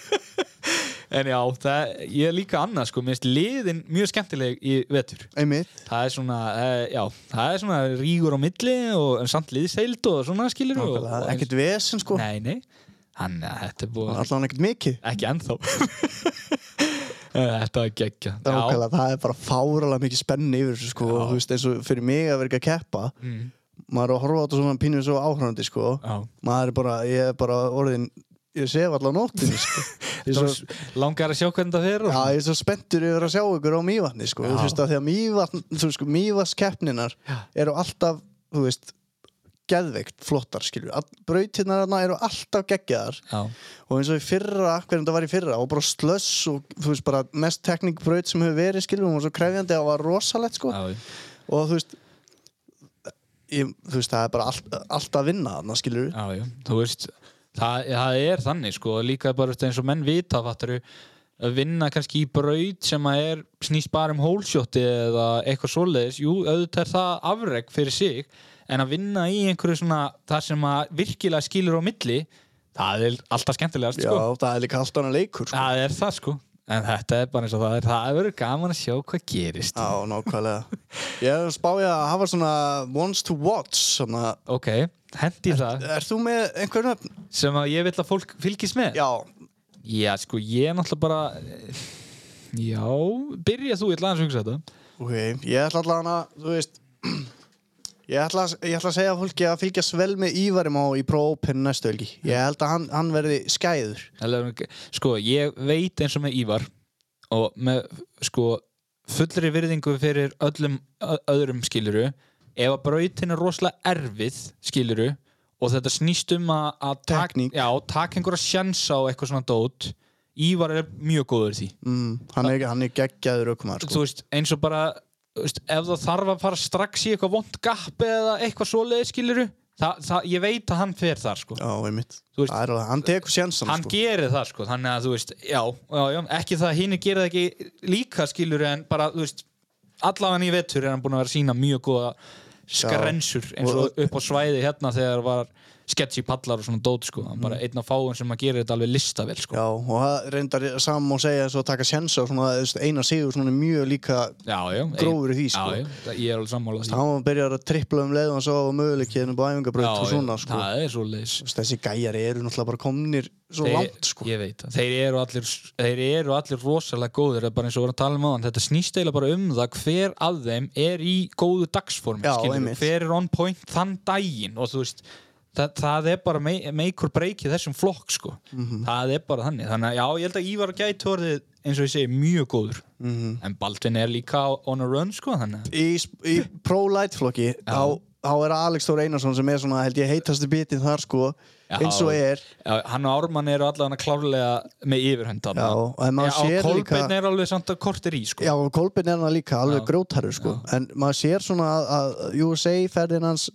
Speaker 3: En já, það, ég er líka annað sko Mér finnst liðin mjög skemmtileg í vetur
Speaker 1: einmitt,
Speaker 3: Það er svona, eh, já, það er svona rígur á milli og en samt liðseild og svona skilur og,
Speaker 1: nákvæmlega,
Speaker 3: og,
Speaker 1: ekkert vesen sko
Speaker 3: Nei, nei, hann, eh, þetta er búið
Speaker 1: allan ekkert mikið
Speaker 3: ekki ennþá Eh, Þetta var geggja Já,
Speaker 1: Nákvæmlega, það er bara fáralega mikið spenni yfir þessu sko, og þú veist, eins og fyrir mig að vera ekki að keppa
Speaker 3: Mm.
Speaker 1: maður er að horfa á þetta svona pínu svo áhrænandi sko,
Speaker 3: já.
Speaker 1: maður er bara ég er bara orðin, ég sef allan nóttinni sko, ég er
Speaker 3: Svo,
Speaker 1: svo
Speaker 3: langar að sjá hvernig það fer og...
Speaker 1: Já, ég er svo spenntur yfir að sjá ykkur á Mývatni sko,
Speaker 3: Já.
Speaker 1: þú veist að því að Mývatn, þú sko, Mývatskeppninar eru alltaf, þú veist geðveikt flottar, skilju brautirnarna eru alltaf geggjaðar
Speaker 3: Já.
Speaker 1: og eins og í fyrra, hvernig þetta var í fyrra og bara slöss og þú veist bara mest teknikbraut sem hefur verið skilur og svo krefjandi að var rosalegt sko
Speaker 3: Já.
Speaker 1: og þú veist ég, þú veist það er bara allt, allt að vinna þarna skilur
Speaker 3: Já, já, þú veist það, það er þannig sko, líka bara veist, eins og menn vita fattaru, að vinna kannski í braut sem að er snýst bara um hólsjótti eða eitthvað svoleiðis, jú, auðvitað er það afreg fyrir sig, en að vinna í einhverju svona, það sem að virkilega skilur á milli, það er alltaf skemmtilegast
Speaker 1: já
Speaker 3: sko.
Speaker 1: það er líka allt annað leikur sko.
Speaker 3: Það er það sko En þetta er bara eins og það er Það verður gaman að sjá hvað gerist
Speaker 1: já nákvæmlega ég er að spája að hafa svona ones to watch svona
Speaker 3: Ok, hendi það
Speaker 1: Er þú með einhver nöfn?
Speaker 3: Sem að ég vil að fólk fylgist með
Speaker 1: Já,
Speaker 3: Já, sko, ég er náttúrulega bara Já, byrja þú, ég ætla aðeins að hugsa þetta
Speaker 1: ok, ég ætla allan að, þú veist Ég ætla, ég ætla að segja fólki að fylgjast vel með Ívarim á í prófópen næstu helgi Ég held að hann, hann verði skæður
Speaker 3: Eller, ok, Sko, ég veit eins og með Ívar Og með, sko Fullri virðingu fyrir öllum ö- Öðrum skiluru Ef að brautin er rosalega erfið skiluru Og þetta snýst um að, að tak-
Speaker 1: Tekník.
Speaker 3: Já, taka einhverja sjensa á eitthvað svona dót Ívar er mjög góður í því
Speaker 1: mm, hann, er, hann er geggjaður ökumar
Speaker 3: þú
Speaker 1: sko.
Speaker 3: veist, eins og bara þú veist, ef það þarf að fara strax í eitthvað vond gap eða eitthvað svoleiði skiluru það, það, ég veit að hann fer þar sko.
Speaker 1: Já, einmitt
Speaker 3: Þú veist-
Speaker 1: Það er alveg- Hann tekur sjansan
Speaker 3: hann
Speaker 1: sko.
Speaker 3: gerir það sko, þannig að þú veist já, já, já, ekki það að hinn gerir það ekki líka skiluru en bara, þú veist allavega í vetur er hann búin að vera að sína mjög góða skrensur eins
Speaker 1: Og-
Speaker 3: og upp á svæði hérna þegar var sketchy pallar og svona dót sko, hann bara einn af fáum sem að gera þetta alveg listavel sko.
Speaker 1: Mm. Já, og það reyndar saman og segja svo að taka sjansa og svona, þú veist, Einar Sigur svona er mjög líka
Speaker 3: já, já,
Speaker 1: Grófur í því, sko.
Speaker 3: já, já, það- ég er alveg sammála því.
Speaker 1: hann byrjar að tripla um leið og hann sá á möguleikiðinu á æfingabraut og svona
Speaker 3: já,
Speaker 1: sko.
Speaker 3: það er svo leiðis
Speaker 1: Þú veist, Þessi gæjar eru náttúrulega bara komnir svo langt sko.
Speaker 3: ég veit það, þeir eru allir þeir eru allir rosalega góðir það er bara eins og við vorum að tala um áðan, þetta snýst eiginlega bara um það hver af þeim er í góðu dagsformi
Speaker 1: Já,
Speaker 3: skilurðu.
Speaker 1: einmitt.
Speaker 3: hver er on point þann daginn og þú veist það, það er bara mei- make or break í þessum flokk sko.
Speaker 1: Mhm.
Speaker 3: það er bara þannig þannig að já, ég held að Ívar gæti orðið eins og ég segi mjög góður
Speaker 1: Mhm.
Speaker 3: -hmm. en Baldvin er líka á- on a run sko, þannig að
Speaker 1: í, sp- í pro-light flokki þá, þá er Alex Þór Einarsson sem er svona held ég heitastu bitið þar sko
Speaker 3: Já.
Speaker 1: eins og er
Speaker 3: Já, hann og Ármann eru allavega klárlega með yfirhönd þarna.
Speaker 1: Já, og ef maður
Speaker 3: Já, og
Speaker 1: sér líka-
Speaker 3: Kolbeinn er alveg samt að kortir í sko.
Speaker 1: Já, og Kolbeinn er hann líka alveg
Speaker 3: Já.
Speaker 1: grótarur sko. en maður sér svona að, að USA ferðin hans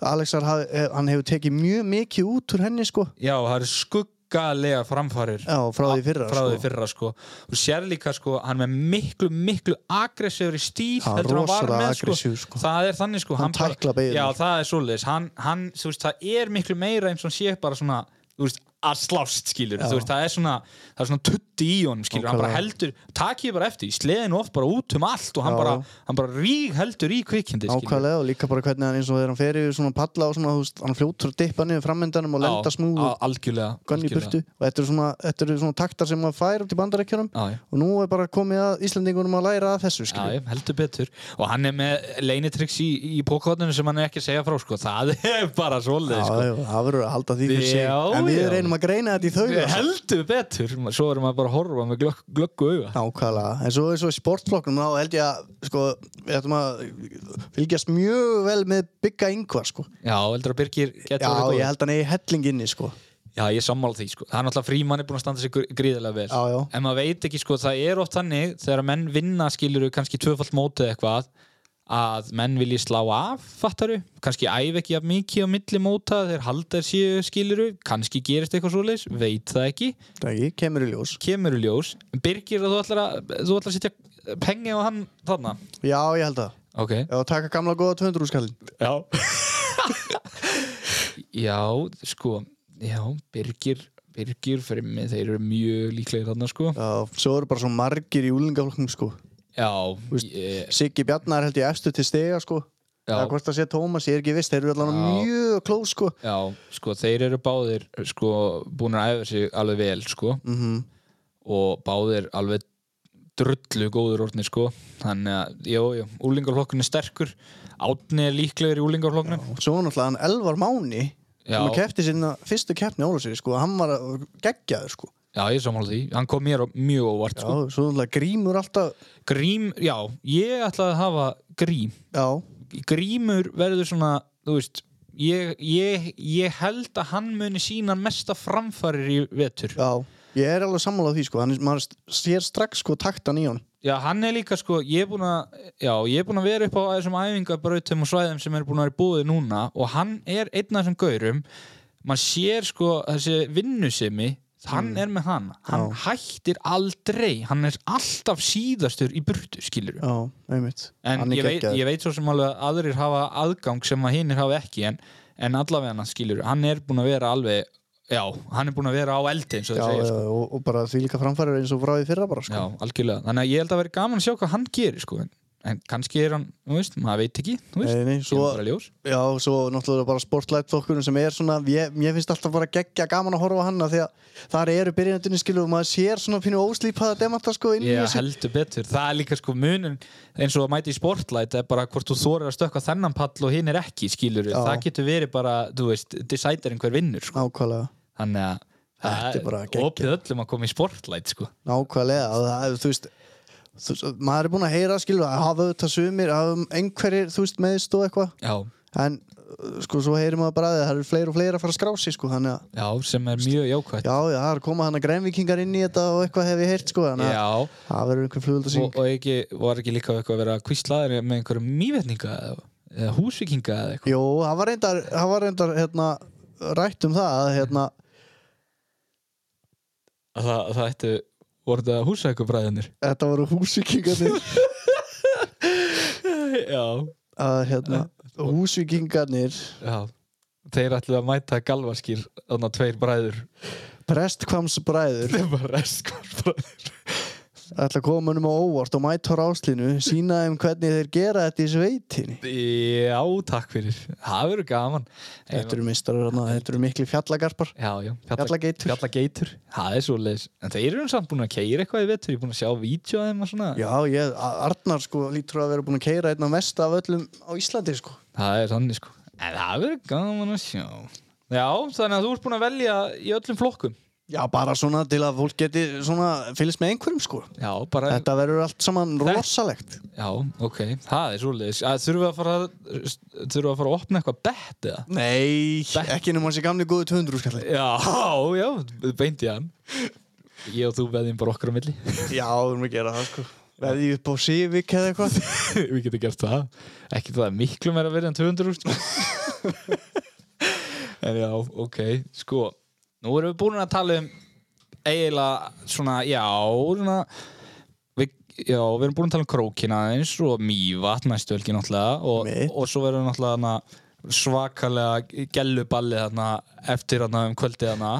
Speaker 1: Alexar, haf, eh, hann hefur tekið mjög mikið út úr henni sko
Speaker 3: Já, það eru skuggalega framfarir
Speaker 1: Já, frá því fyrra,
Speaker 3: frá
Speaker 1: sko.
Speaker 3: því fyrra sko. og sér líka sko, hann er með miklu, miklu aggressífur í stíl
Speaker 1: Já,
Speaker 3: heldur en hann var
Speaker 1: rosalega
Speaker 3: með sko.
Speaker 1: aggressív, sko.
Speaker 3: það er þannig sko,
Speaker 1: Hann
Speaker 3: bara-
Speaker 1: tæklar beygjunar.
Speaker 3: já, það er svoleiðis hann, hann, þú veist, það er miklu meira eins og hann sé bara svona þú veist, að slást skilur þú veist, það er svona, það er svona tutti í honum skilur, hann bara heldur, takk ég bara eftir sleðin oft bara út um allt og hann
Speaker 1: Já.
Speaker 3: bara, hann bara rík heldur í kvikindi skilurðu.
Speaker 1: Ákvæðlega og líka bara hvernig hann eins og þegar hann fer yfir svona palla og svona, þú veist, hann fljótur að dippa niður framöndanum og
Speaker 3: Já,
Speaker 1: lenda smúð
Speaker 3: á-
Speaker 1: og
Speaker 3: algjörlega,
Speaker 1: gann í burtu
Speaker 3: algjörlega.
Speaker 1: og þetta eru svona, þetta eru svona taktar sem maður fær upp til bandarækjunum
Speaker 3: Já, já.
Speaker 1: og nú er bara komið að Íslandingunum að læra að þessu
Speaker 3: Já,
Speaker 1: skilur
Speaker 3: já, heldur betur og hann er með leinitryggs í, í pókotninu sem hann er ekki að segja frá sko. það er bara
Speaker 1: Já,
Speaker 3: svoleið sko.
Speaker 1: já, það verður að halda því fyrir sig
Speaker 3: Já,
Speaker 1: En við
Speaker 3: já.
Speaker 1: reynum að greina þetta í sko. þau
Speaker 3: heldur betur svo erum við bara að horfa með glögg, glöggu auga
Speaker 1: Nákvæmlega, en svo eins og í sportflokknum þá held ég að, sko, við ættum að fylgjast mjög vel með bygga yngvar, sko.
Speaker 3: Já, heldur að Birgir getur
Speaker 1: Já,
Speaker 3: orðið góður?
Speaker 1: ég held hann eigi helling inni, sko.
Speaker 3: Já, ég sammála því, sko. Það er náttúrulega frímann er búin að standa sig gr- gríðarlega vel.
Speaker 1: Já, já.
Speaker 3: En maður veit ekki, sko, það er oft þannig þegar menn vinna, skilur við, kannski tvöfalt mótið eitthvað, að menn vilji slá af, fattar við, kannski æf ekki af mikið á milli móta, þeir haldar séu, skilur við, kannski gerist eitthvað svoleiðis, veit það ekki,
Speaker 1: Það ekki, kemur í ljós.
Speaker 3: kemur í ljós. Birgir, þú ætlar að, þú ætlar að setja pengi á hann þarna.
Speaker 1: Já, ég held það.
Speaker 3: Ok.
Speaker 1: Já, taka gamla góða 200 skallin.
Speaker 3: Já. já, sko, já, Birgir, Birgir, Frimmi, þeir eru mjög líklegir þarna, sko.
Speaker 1: Já, svo eru bara svo margir í úlingaflokknum, sko.
Speaker 3: Já,
Speaker 1: veist,
Speaker 3: ég,
Speaker 1: Siggi Bjarnar held ég efstu til stega, sko.
Speaker 3: Já.
Speaker 1: Það hvort það sé Tómas, ég er ekki viss, þeir eru allan
Speaker 3: Já.
Speaker 1: mjög klós, sko.
Speaker 3: já, sko, þeir eru báðir sko, búin að æfa sig alveg vel sko,
Speaker 1: Mm
Speaker 3: og báðir alveg drullu góður orðni sko. þannig að, jú, jú, úlingarflokkun er sterkur átni er líklegur í úlingarflokknum
Speaker 1: Svo náttúrulega hann Elvar Máni,
Speaker 3: Já.
Speaker 1: sem að kefti sinna fyrstu keppni Ólusir, sko, hann var að- geggjaður, sko.
Speaker 3: já, ég er sammála því, hann kom mér á- mjög
Speaker 1: Já,
Speaker 3: óvart sko.
Speaker 1: svo náttúrulega grímur alltaf,
Speaker 3: grím, já, ég ætlaði að hafa grím
Speaker 1: já,
Speaker 3: grímur verður svona, þú veist ég, ég, ég held að hann muni sína mesta framfarir í vetur
Speaker 1: Já, ég er alveg sammálað því sko, hann, er- maður sér strax sko taktan í hann
Speaker 3: Já, hann er líka sko, ég er búin að já, ég er búin að vera upp á þessum æfingabrautum og svæðum sem er búin að vera búið núna og hann er einn af þessum gaurum maður sér sko þessi vinnusemi hann er með hann hann hættir aldrei, hann er alltaf síðastur í burtu, skilur
Speaker 1: Já, einmitt
Speaker 3: en ég veit, ég veit svo sem alveg að aðrir hafa aðgang sem að hinnir hafa ekki en, en allavega hann skilur, hann er búin að vera alveg, já, hann er búin að vera á eldi eins og
Speaker 1: Já,
Speaker 3: það segja sko.
Speaker 1: já, og, og bara því líka framfærir eins og frá því fyrra bara sko
Speaker 3: Já, algjörlega. Þannig að ég held að vera gaman að sjá hvað hann gerir, sko. En, en kannski er hann, þú veist, maður veit ekki, þú veist.
Speaker 1: Nei, nei,
Speaker 3: Svo...
Speaker 1: svo,
Speaker 3: Bara í ljós.
Speaker 1: já, svo náttúrulega bara sportlætt okkur sem er svona, ég, ég finnst alltaf bara geggja gaman að horfa á hann af því að þar eru byrjandunni skilu og maður sér svona pínu óslýpaða demanta sko inn í
Speaker 3: Ég
Speaker 1: þessu
Speaker 3: heldur betur. Það er líka sko munun eins og að mæta í sportlight er bara hvort þú þorir að stökka þennan pall og hinn er ekki, skilur
Speaker 1: Já.
Speaker 3: Það getur verið bara, þú veist, deciderinn hver vinnur, sko.
Speaker 1: Nákvæmlega,
Speaker 3: Þannig að
Speaker 1: Þetta er bara
Speaker 3: það er opið öllum að koma í sportlight, sko.
Speaker 1: nákvæmlega og það, þú veist þú, veist, maður er búin að heyra skilu að hafa auðvitað sumir, hafa einhverjir, þú veist, meðist og eitthvað
Speaker 3: Já,
Speaker 1: en uh, sko svo heyrim maður bara að það eru fleiri og fleiri að fara að skrá sig sko þannig að
Speaker 3: já, sem er mjög jákvætt.
Speaker 1: já já það er að koma hann að grænvikingar inn í þetta og eitthvað hef ég heyrt sko þannig að
Speaker 3: já.
Speaker 1: það verður einhver
Speaker 3: og,
Speaker 1: flugöldasýning
Speaker 3: og ekki, var ekki líka eitthvað að vera kvíslaðir með einhverjum mývetninga eða, eða húsvikinga eða eitthvað
Speaker 1: Jó, það var reyndar, það var reyndar hérna, rætt um það að hérna,
Speaker 3: að það, að það ættu voru þetta húsækubræðinir
Speaker 1: þetta voru húsvikingarnir
Speaker 3: já,
Speaker 1: að hérna, húsvikingarnir
Speaker 3: já þeir ætlu að mæta galvarskýr þannig að tveir bræður
Speaker 1: prestkvamsbræður
Speaker 3: þeir bara restkvarsbræður
Speaker 1: ætla að koma honum á óvart og mæta á ráslinu sína þeim hvernig þeir gera þetta í sveitinni
Speaker 3: já, takk fyrir það verður gaman
Speaker 1: Þetta eru mistarar hérna, þetta eru mikli fjallagarpar
Speaker 3: já, já,
Speaker 1: Fjallageitur.
Speaker 3: fjallageitur. það er svo leis en þeir eru samt búin að keira eitthvað í vetur ég er búin að sjá vídeo að þeim og svona
Speaker 1: Já, ég, A- Arnar sko lítur að vera búin að keira einna mest af öllum á Íslandi sko
Speaker 3: það er þannig sko en það verður gaman að sjá Já, þannig að þú ert búin að velja í öllum flokkum
Speaker 1: Já, bara svona til að fólk geti svona fylgst með einhverjum sko
Speaker 3: Já, bara,
Speaker 1: Þetta verður allt saman rosalegt
Speaker 3: já, ok Það er svoleiðis, Að þurfum við að fara þurfum við að fara að opna eitthvað bett eða?
Speaker 1: Nei, ekki nema þessi gamli góðu 200 skalli
Speaker 3: Já, já, beint í hann Ég og þú veðjum bara okkar á milli
Speaker 1: Já, við erum að gera það sko Veði upp á Civic eða eitthvað
Speaker 3: Við getum gert það Ekki það er miklu meira verið en 200 úr En já, ok Sko, nú erum við búin að tala um eiginlega svona, já svona, við, Já, við erum búin að tala um krókina eins og mývat næstu helgi náttúrulega og,
Speaker 1: Mitt.
Speaker 3: og svo verður náttúrulega hana, svakalega gelluballi þarna eftir þarna um kvöldið þarna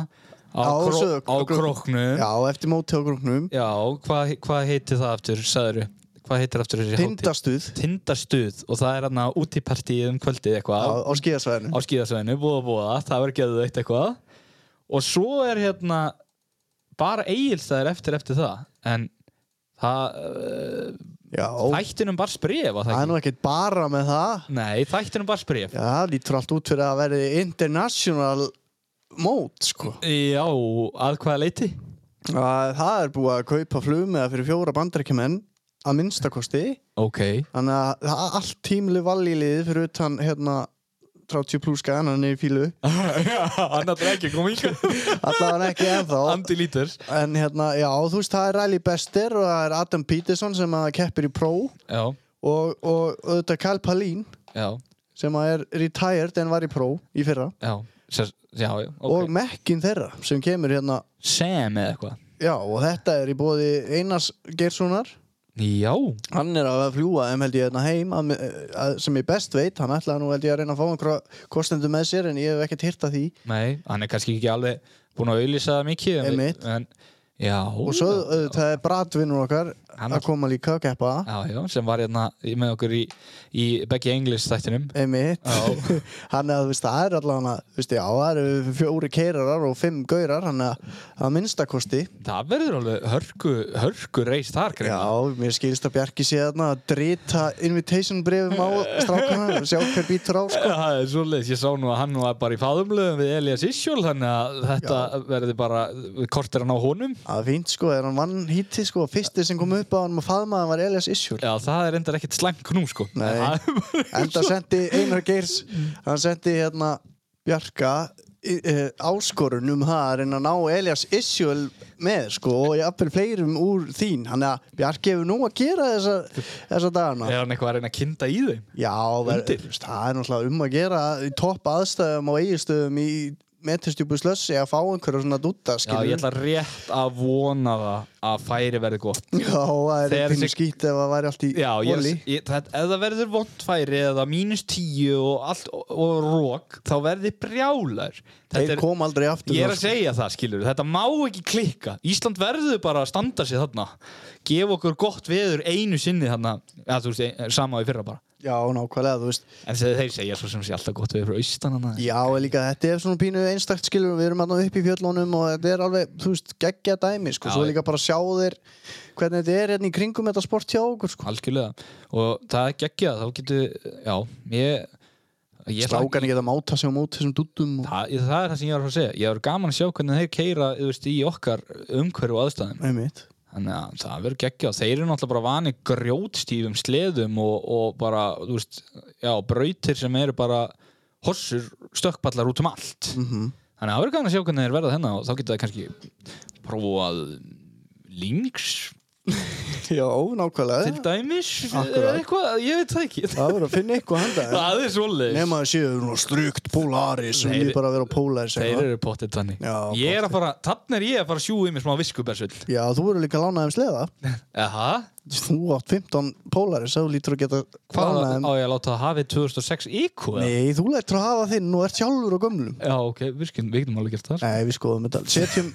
Speaker 1: Á
Speaker 3: á, kró,
Speaker 1: sög-
Speaker 3: á króknum
Speaker 1: Já, eftir móti á grúknum
Speaker 3: Já, hvað hva heitir það aftur, sagður Hvað heitir aftur þessi hátíð?
Speaker 1: Tindastuð
Speaker 3: tindastuð og það er hann að útipartíð um kvöldið
Speaker 1: á,
Speaker 3: eitthvað á,
Speaker 1: á skíðasvæðinu
Speaker 3: á skíðasveinu, búða búða, það verður geðið eitt eitthvað og svo er hérna bara eigilstæðir eftir eftir það en það uh,
Speaker 1: Já,
Speaker 3: þættinum bara spref var
Speaker 1: það er
Speaker 3: það
Speaker 1: nú
Speaker 3: ekki?
Speaker 1: ekkert bara með það
Speaker 3: Nei, þættinum bara spref
Speaker 1: Já, það lítur allt út fyrir að verði international mót sko
Speaker 3: Já, að hvaða leiti?
Speaker 1: að það er búið að kaupa flugmiða fyrir fjóra bandarækjumenn að minnstakosti
Speaker 3: Ok,
Speaker 1: þannig að það er allt tímli valíliðið fyrir utan hérna 30 pluss skæðan hann er í fílu
Speaker 3: annar ekki kom yngur
Speaker 1: allavega ekki ennþá
Speaker 3: Andi lítur
Speaker 1: en hérna, já, þú veist, það er Riley Bester og það er Adam Peterson sem að keppir í Pro og,
Speaker 3: Já,
Speaker 1: og, og auðvitað Kyle Palin
Speaker 3: já,
Speaker 1: sem að er retired en var í Pro í fyrra
Speaker 3: já Sér, Já, já,
Speaker 1: og
Speaker 3: ok
Speaker 1: mekkin þeirra sem kemur hérna
Speaker 3: Sam eða eitthvað
Speaker 1: já, og þetta er í bóði Einars Geirssonar
Speaker 3: Já,
Speaker 1: hann er að fljúa þeim held ég hérna heim að, að, sem ég best veit, hann ætlaði nú held ég að reyna að fá einhverja kostendu með sér en ég hef ekkert hýrt að því
Speaker 3: Nei, hann er kannski ekki alveg búin að auðlýsa það mikið en,
Speaker 1: Einmitt.
Speaker 3: en, Já
Speaker 1: og svo það er bratvinnur okkar
Speaker 3: Hann
Speaker 1: að koma líka að keppa
Speaker 3: Já, já, sem var hérna í- með okkur í, í Beggi English þættinum
Speaker 1: einmitt
Speaker 3: Já.
Speaker 1: hann er að þú veist, það er allavega þú veist, já, það eru fjóri keirarar og fimm gaurar hann er að minnstakosti
Speaker 3: Það verður alveg hörku, hörku reis þar
Speaker 1: já,
Speaker 3: greina.
Speaker 1: mér skilst að Bjarki sé þarna að drita invitation brefum á strákana og sjá hver býtur á sko.
Speaker 3: Það er svoleiðis, ég sá nú að hann var bara í faðumlöðum við Elias Isjól þannig að þetta verður bara kortir hann á honum
Speaker 1: það er fínt sko, þegar hann vann híti sko, fyrsti sem kom upp á hann og faðmaðan var Elias Isjúl
Speaker 3: Já, það er endar ekkert slæmt knú sko
Speaker 1: Nei.
Speaker 3: En það er bara-
Speaker 1: Enda sendi Einar Geirs hann sendi hérna Bjarka í- eh, áskorun um það að reyna að ná Elias Isjöl með sko og jafnvel fleirum úr þín hann að Bjarki hefur nú að gera þessa, þessa dagana
Speaker 3: Er hann eitthvað að reyna að kynda í þeim?
Speaker 1: Já, ver,
Speaker 3: Undir.
Speaker 1: það er náttúrulega um að gera í topp aðstæðum og eigistöðum í metastjúpu slössi að fá einhverja svona dutta
Speaker 3: Já,
Speaker 1: skilur
Speaker 3: ég ætla rétt að vona það að færi verði gott
Speaker 1: Já, það
Speaker 3: Þegar
Speaker 1: er pínu
Speaker 3: þessi-
Speaker 1: skýtt ef það væri allt í
Speaker 3: Já, ég,
Speaker 1: voli
Speaker 3: ég, það, ef það verður vondfæri eða mínus tíu og allt og, og rók, þá verði brjálar
Speaker 1: Þeir
Speaker 3: Þetta er,
Speaker 1: kom aldrei aftur
Speaker 3: ég
Speaker 1: þar,
Speaker 3: er að
Speaker 1: sko.
Speaker 3: segja það, skilur þetta má ekki klikka, Ísland verður bara að standa sig þarna, gefa okkur gott veður einu sinni þarna eða þú veist, ein- sama á í fyrra bara
Speaker 1: Já, nákvæmlega, þú veist
Speaker 3: en þeir, þeir segja svo sem sé alltaf gott veður frá austan hana
Speaker 1: Já, en líka þetta er svona pínu einstakt skilur við erum alltaf upp í fjöllunum og þetta er alveg, þú veist, geggja dæmi sko,
Speaker 3: Já,
Speaker 1: svo
Speaker 3: já.
Speaker 1: líka bara sjá þér hvernig þetta er hérna í kringum þetta sport hjá okkur sko.
Speaker 3: algjörlega, og það er geggjað þá getur, já, ég, ég ætla-
Speaker 1: Strákan geta máta sig á móti þessum dúttum og...
Speaker 3: Það, ég- það er það sem ég var að fara að segja Ég var gaman að sjá hvernig þeir keira veist, í okkar umhverju og aðstæðum
Speaker 1: Einmitt.
Speaker 3: Þannig að það verður geggjað. Þeir eru náttúrulega bara vani grjótstífum sleðum og, og bara, þú veist, já, brautir sem eru bara hossur stökkpallar út um allt.
Speaker 1: Mhm.
Speaker 3: Þannig að það verður gaman að sjá hvernig þeir verða þennan og þá getur það kannski prófað links
Speaker 1: Já, nákvæmlega
Speaker 3: til dæmis
Speaker 1: Akkurat.
Speaker 3: eða eitthvað, ég veit það ekki.
Speaker 1: Það verður að finna eitthvað handa
Speaker 3: Það er svoleiðis.
Speaker 1: Nefn að það séu nú strykt polaris og
Speaker 3: Þeir-
Speaker 1: við bara að vera polaris
Speaker 3: Þeir
Speaker 1: eitthvað.
Speaker 3: eru pottitt þannig.
Speaker 1: Já,
Speaker 3: ég er að fara, þannig er ég að fara að sjúi mér smá viskubersull.
Speaker 1: Já, þú verður líka að lána þeim sleða
Speaker 3: Aha,
Speaker 1: Þú átt 15 polaris, þá lítur að geta
Speaker 3: hvað
Speaker 1: lána þeim
Speaker 3: á ég að láta það hafið 2006 IQ? eða?
Speaker 1: Nei, þú lætur að hafa þinn og ert sjálfur á gömlum
Speaker 3: Já, ok, við skyldum- við getum alveg gert það.
Speaker 1: Nei, við skoðum þetta alveg. Setjum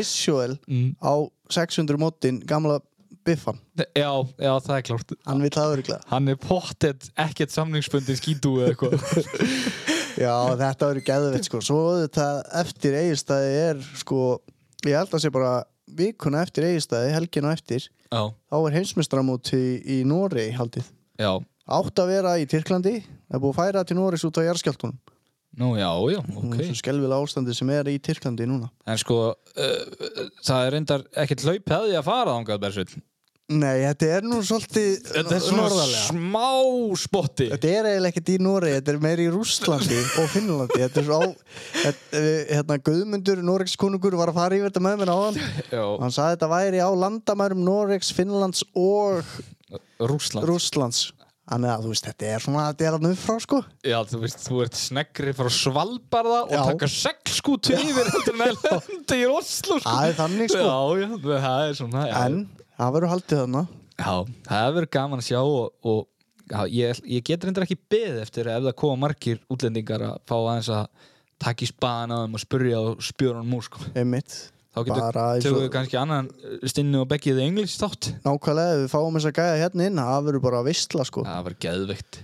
Speaker 1: Isjóel
Speaker 3: Mm.
Speaker 1: á 600 mótin gamla biffan
Speaker 3: Já, já, það er klárt.
Speaker 1: Hann vil það öruglega
Speaker 3: Hann er pottet ekkert samlingsbundin skítu eða eitthvað.
Speaker 1: Já, þetta verður geðveitt sko Svo þetta eftir eigistæði er sko Ég held að sé bara vikuna eftir eigistæði, helgina eftir
Speaker 3: já,
Speaker 1: Þá er heimsmestramóti í Norei haldið
Speaker 3: já,
Speaker 1: Átt að vera í Tyrklandi Það er búið að færa til Noreis út á jarðskjáltunum
Speaker 3: Nú, já, já, ok.
Speaker 1: okay. skelvilega ástandi sem er í Tyrklandi núna
Speaker 3: En sko, uh, það er reyndar ekkert hlaup hefði að fara þangað, Bersveit.
Speaker 1: Nei, þetta er nú svolítið
Speaker 3: Þetta er svona smá spotti.
Speaker 1: Þetta er eiginlega ekkert í Noregi, þetta er meir í Rússlandi og Finnlandi Þetta er svo á, þetta, eh, hérna Guðmundur, Noregs konungur var að fara yfir þetta með mér áðan
Speaker 3: Já,
Speaker 1: Hann sagði þetta væri á landamærum Noregs, Finnlands og
Speaker 3: Rússland.
Speaker 1: Rússlands Þannig að þú veist, þetta er svona, þetta er alveg frá sko
Speaker 3: Já, þú veist, þú ert sneggri frá Svalbarða og
Speaker 1: Já.
Speaker 3: taka seglskútu yfir heldur en að lenda í Oslo. sko.
Speaker 1: Það er þannig, sko.
Speaker 3: Já, já, það er svona, já.
Speaker 1: En, það verður haldið þarna
Speaker 3: Já, það verður gaman að sjá og, og já, ég, ég get reyndar ekki beð eftir ef það koma margir útlendingar að fá aðeins að taka í spaðan á þeim og spurja og spjöra hann múr sko.
Speaker 1: Einmitt,
Speaker 3: Þá getur
Speaker 1: Bara eins og-
Speaker 3: tökum við kannski annan eh, stinnu og beggið englis þátt.
Speaker 1: nákvæmlega, ef við fáum þess að gæja hérna inn Það verður bara að vistla sko
Speaker 3: Það var geðveikt.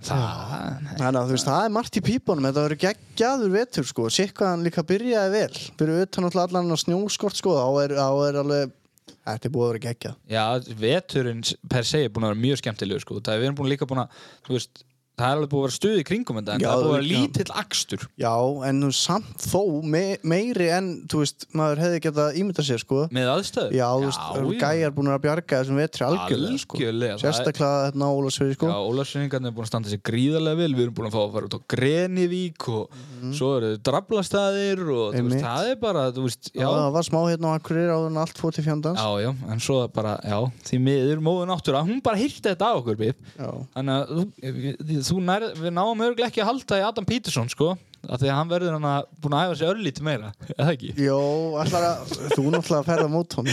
Speaker 3: Það,
Speaker 1: Þannig að þú veist, það er margt í pípunum, þetta verður geggjaður vetur sko, sér hvað hann líka byrjaði vel, fyrir utan alltaf allan að snjóskort sko, þá er, þá er alveg, þetta er búið að vera geggjað.
Speaker 3: já, veturinn per se er búin að vera mjög skemmtilegur sko. Það er við erum búin líka búin að, þú veist, það er alveg búin að vera stuð í kringum þetta en
Speaker 1: Já,
Speaker 3: það er búin að vera
Speaker 1: já.
Speaker 3: lítill akstur.
Speaker 1: Já, en nú samt þó me, meiri en, þú veist, maður hefði getað ímyndað sér sko.
Speaker 3: Með aðstöður?
Speaker 1: Já, þú veist, það eru gæjar búin að bjarga þessum vetri algjörlega sko.
Speaker 3: Algjörlega, það er-
Speaker 1: Sérstaklega hérna Ólasveri sko.
Speaker 3: Já, Ólafsreyningarnir er búin að standa sér gríðarlega vel Við erum búin að fá að fara út á Grenivík og svo eru drablastæðir og
Speaker 1: Mhm.
Speaker 3: þú veist,
Speaker 1: Einmitt.
Speaker 3: það er bara, þú veist, já
Speaker 1: Já, það var smá hérna á Akureyri áður en allt fór til fjandans.
Speaker 3: Já, já, en svo er bara, já, því miður móðu náttúra, hún bara hýrti þetta á okkur, Bip
Speaker 1: Já.
Speaker 3: Þannig að þú, við- þú nær, við náum örglega ekki að halda í Adam Peterson, sko af því að hann verður hann að búin að æfa sér örlítið meira, eða ekki?
Speaker 1: Jó, allar að, þú náttúrulega ferða mót honum.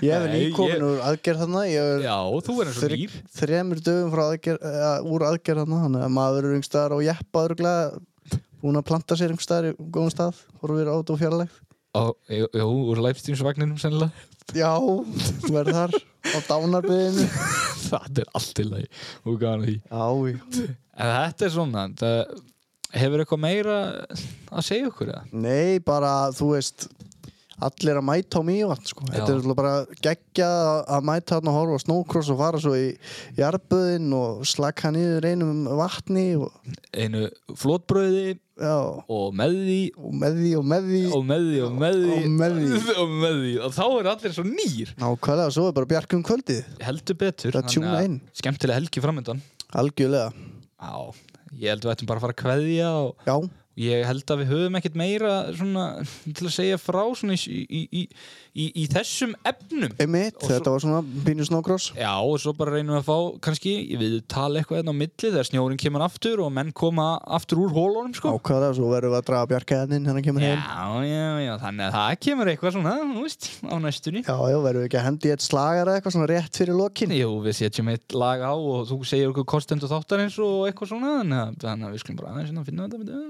Speaker 1: Ég hef
Speaker 3: Nei, ég-
Speaker 1: nýkomin úr aðgerð þarna, ég er
Speaker 3: Já, þú er eins og
Speaker 1: Þre-
Speaker 3: nýr
Speaker 1: þremur dögum frá aðger, uh, úr aðgerðana þannig að maður er einhverstaðar á jeppa örgulega búin að planta sér einhverstaðar í góðum stað horfir át og fjarlægt
Speaker 3: Ó, Jú, jú, úr livestreamsvagninum sennilega
Speaker 1: já, þú er þar á dánarbyðinu
Speaker 3: Það er allt í lagi, hún gana því
Speaker 1: já, já.
Speaker 3: En þetta er svona það, Hefur eitthvað meira að segja okkur eða?
Speaker 1: nei, bara þú veist allir að mæta á mývatn sko. þetta
Speaker 3: Já.
Speaker 1: er náttúrulega bara geggja að mæta hann og horfa á snókross og fara svo í jarbuðin og slaka niður einum vatni og,
Speaker 3: Einu flótbröði
Speaker 1: já,
Speaker 3: og með því
Speaker 1: og með því og með því
Speaker 3: og með því og með því
Speaker 1: Og með því.
Speaker 3: og, með því. og þá er allir svo nýr
Speaker 1: nákvæmlega, svo er bara bjarkum kvöldið
Speaker 3: Heldur betur
Speaker 1: Það
Speaker 3: þannig
Speaker 1: tjúna
Speaker 3: að
Speaker 1: inn.
Speaker 3: Skemmtilega helgi framöndan
Speaker 1: algjörlega,
Speaker 3: Já, ég held við ættum bara að fara að kveðja og
Speaker 1: já
Speaker 3: ég held að við höfum ekkert meira svona, til að segja frá svona í, í, í, í, í þessum efnum
Speaker 1: Einmitt,
Speaker 3: Og svo-
Speaker 1: þetta var svona pínu snókross
Speaker 3: Já, og svo bara reynum við að fá, kannski, við tala eitthvað einn á milli þegar snjórin kemur aftur og menn koma aftur úr hólunum, sko.
Speaker 1: ákvæða, svo verðum við að draga bjarkaðaninn hennar hérna kemur heim
Speaker 3: Já, já, já, þannig að það kemur eitthvað svona, þú veist, á næstunni.
Speaker 1: Já, já, verðum við ekki að hendi í eitt slagara eitthvað svona rétt fyrir lokin
Speaker 3: Jú, við setjum eitt lag á og þú segir okkur kostendu þáttarins og eitthvað svona, þannig að- þannig að við skulum bara aðeins hérna að finna þetta. bíddu.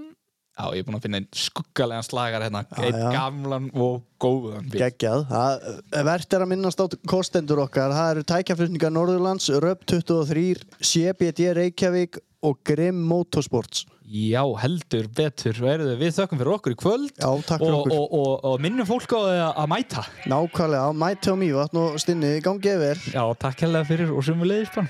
Speaker 3: Já, ég er búinn að finna einn skuggalegan slagar hérna, einn
Speaker 1: já.
Speaker 3: gamlan og góðan. bíddu.
Speaker 1: Geggjað, það verðt er að minnast á kostendur okkar Það eru tækjaflutningar Norðurlands, Röp 23, CBD Reykjavík og Grimm Motorsports
Speaker 3: Já, heldur betur verðu við þökkum fyrir okkur í kvöld
Speaker 1: Já, takk fyrir
Speaker 3: og,
Speaker 1: okkur.
Speaker 3: og, og, og minnum fólk á að að mæta.
Speaker 1: Nákvæmlega, mæti á mývatn og stinni, gangið vel
Speaker 3: Já, takk hella fyrir og sömulegis bara.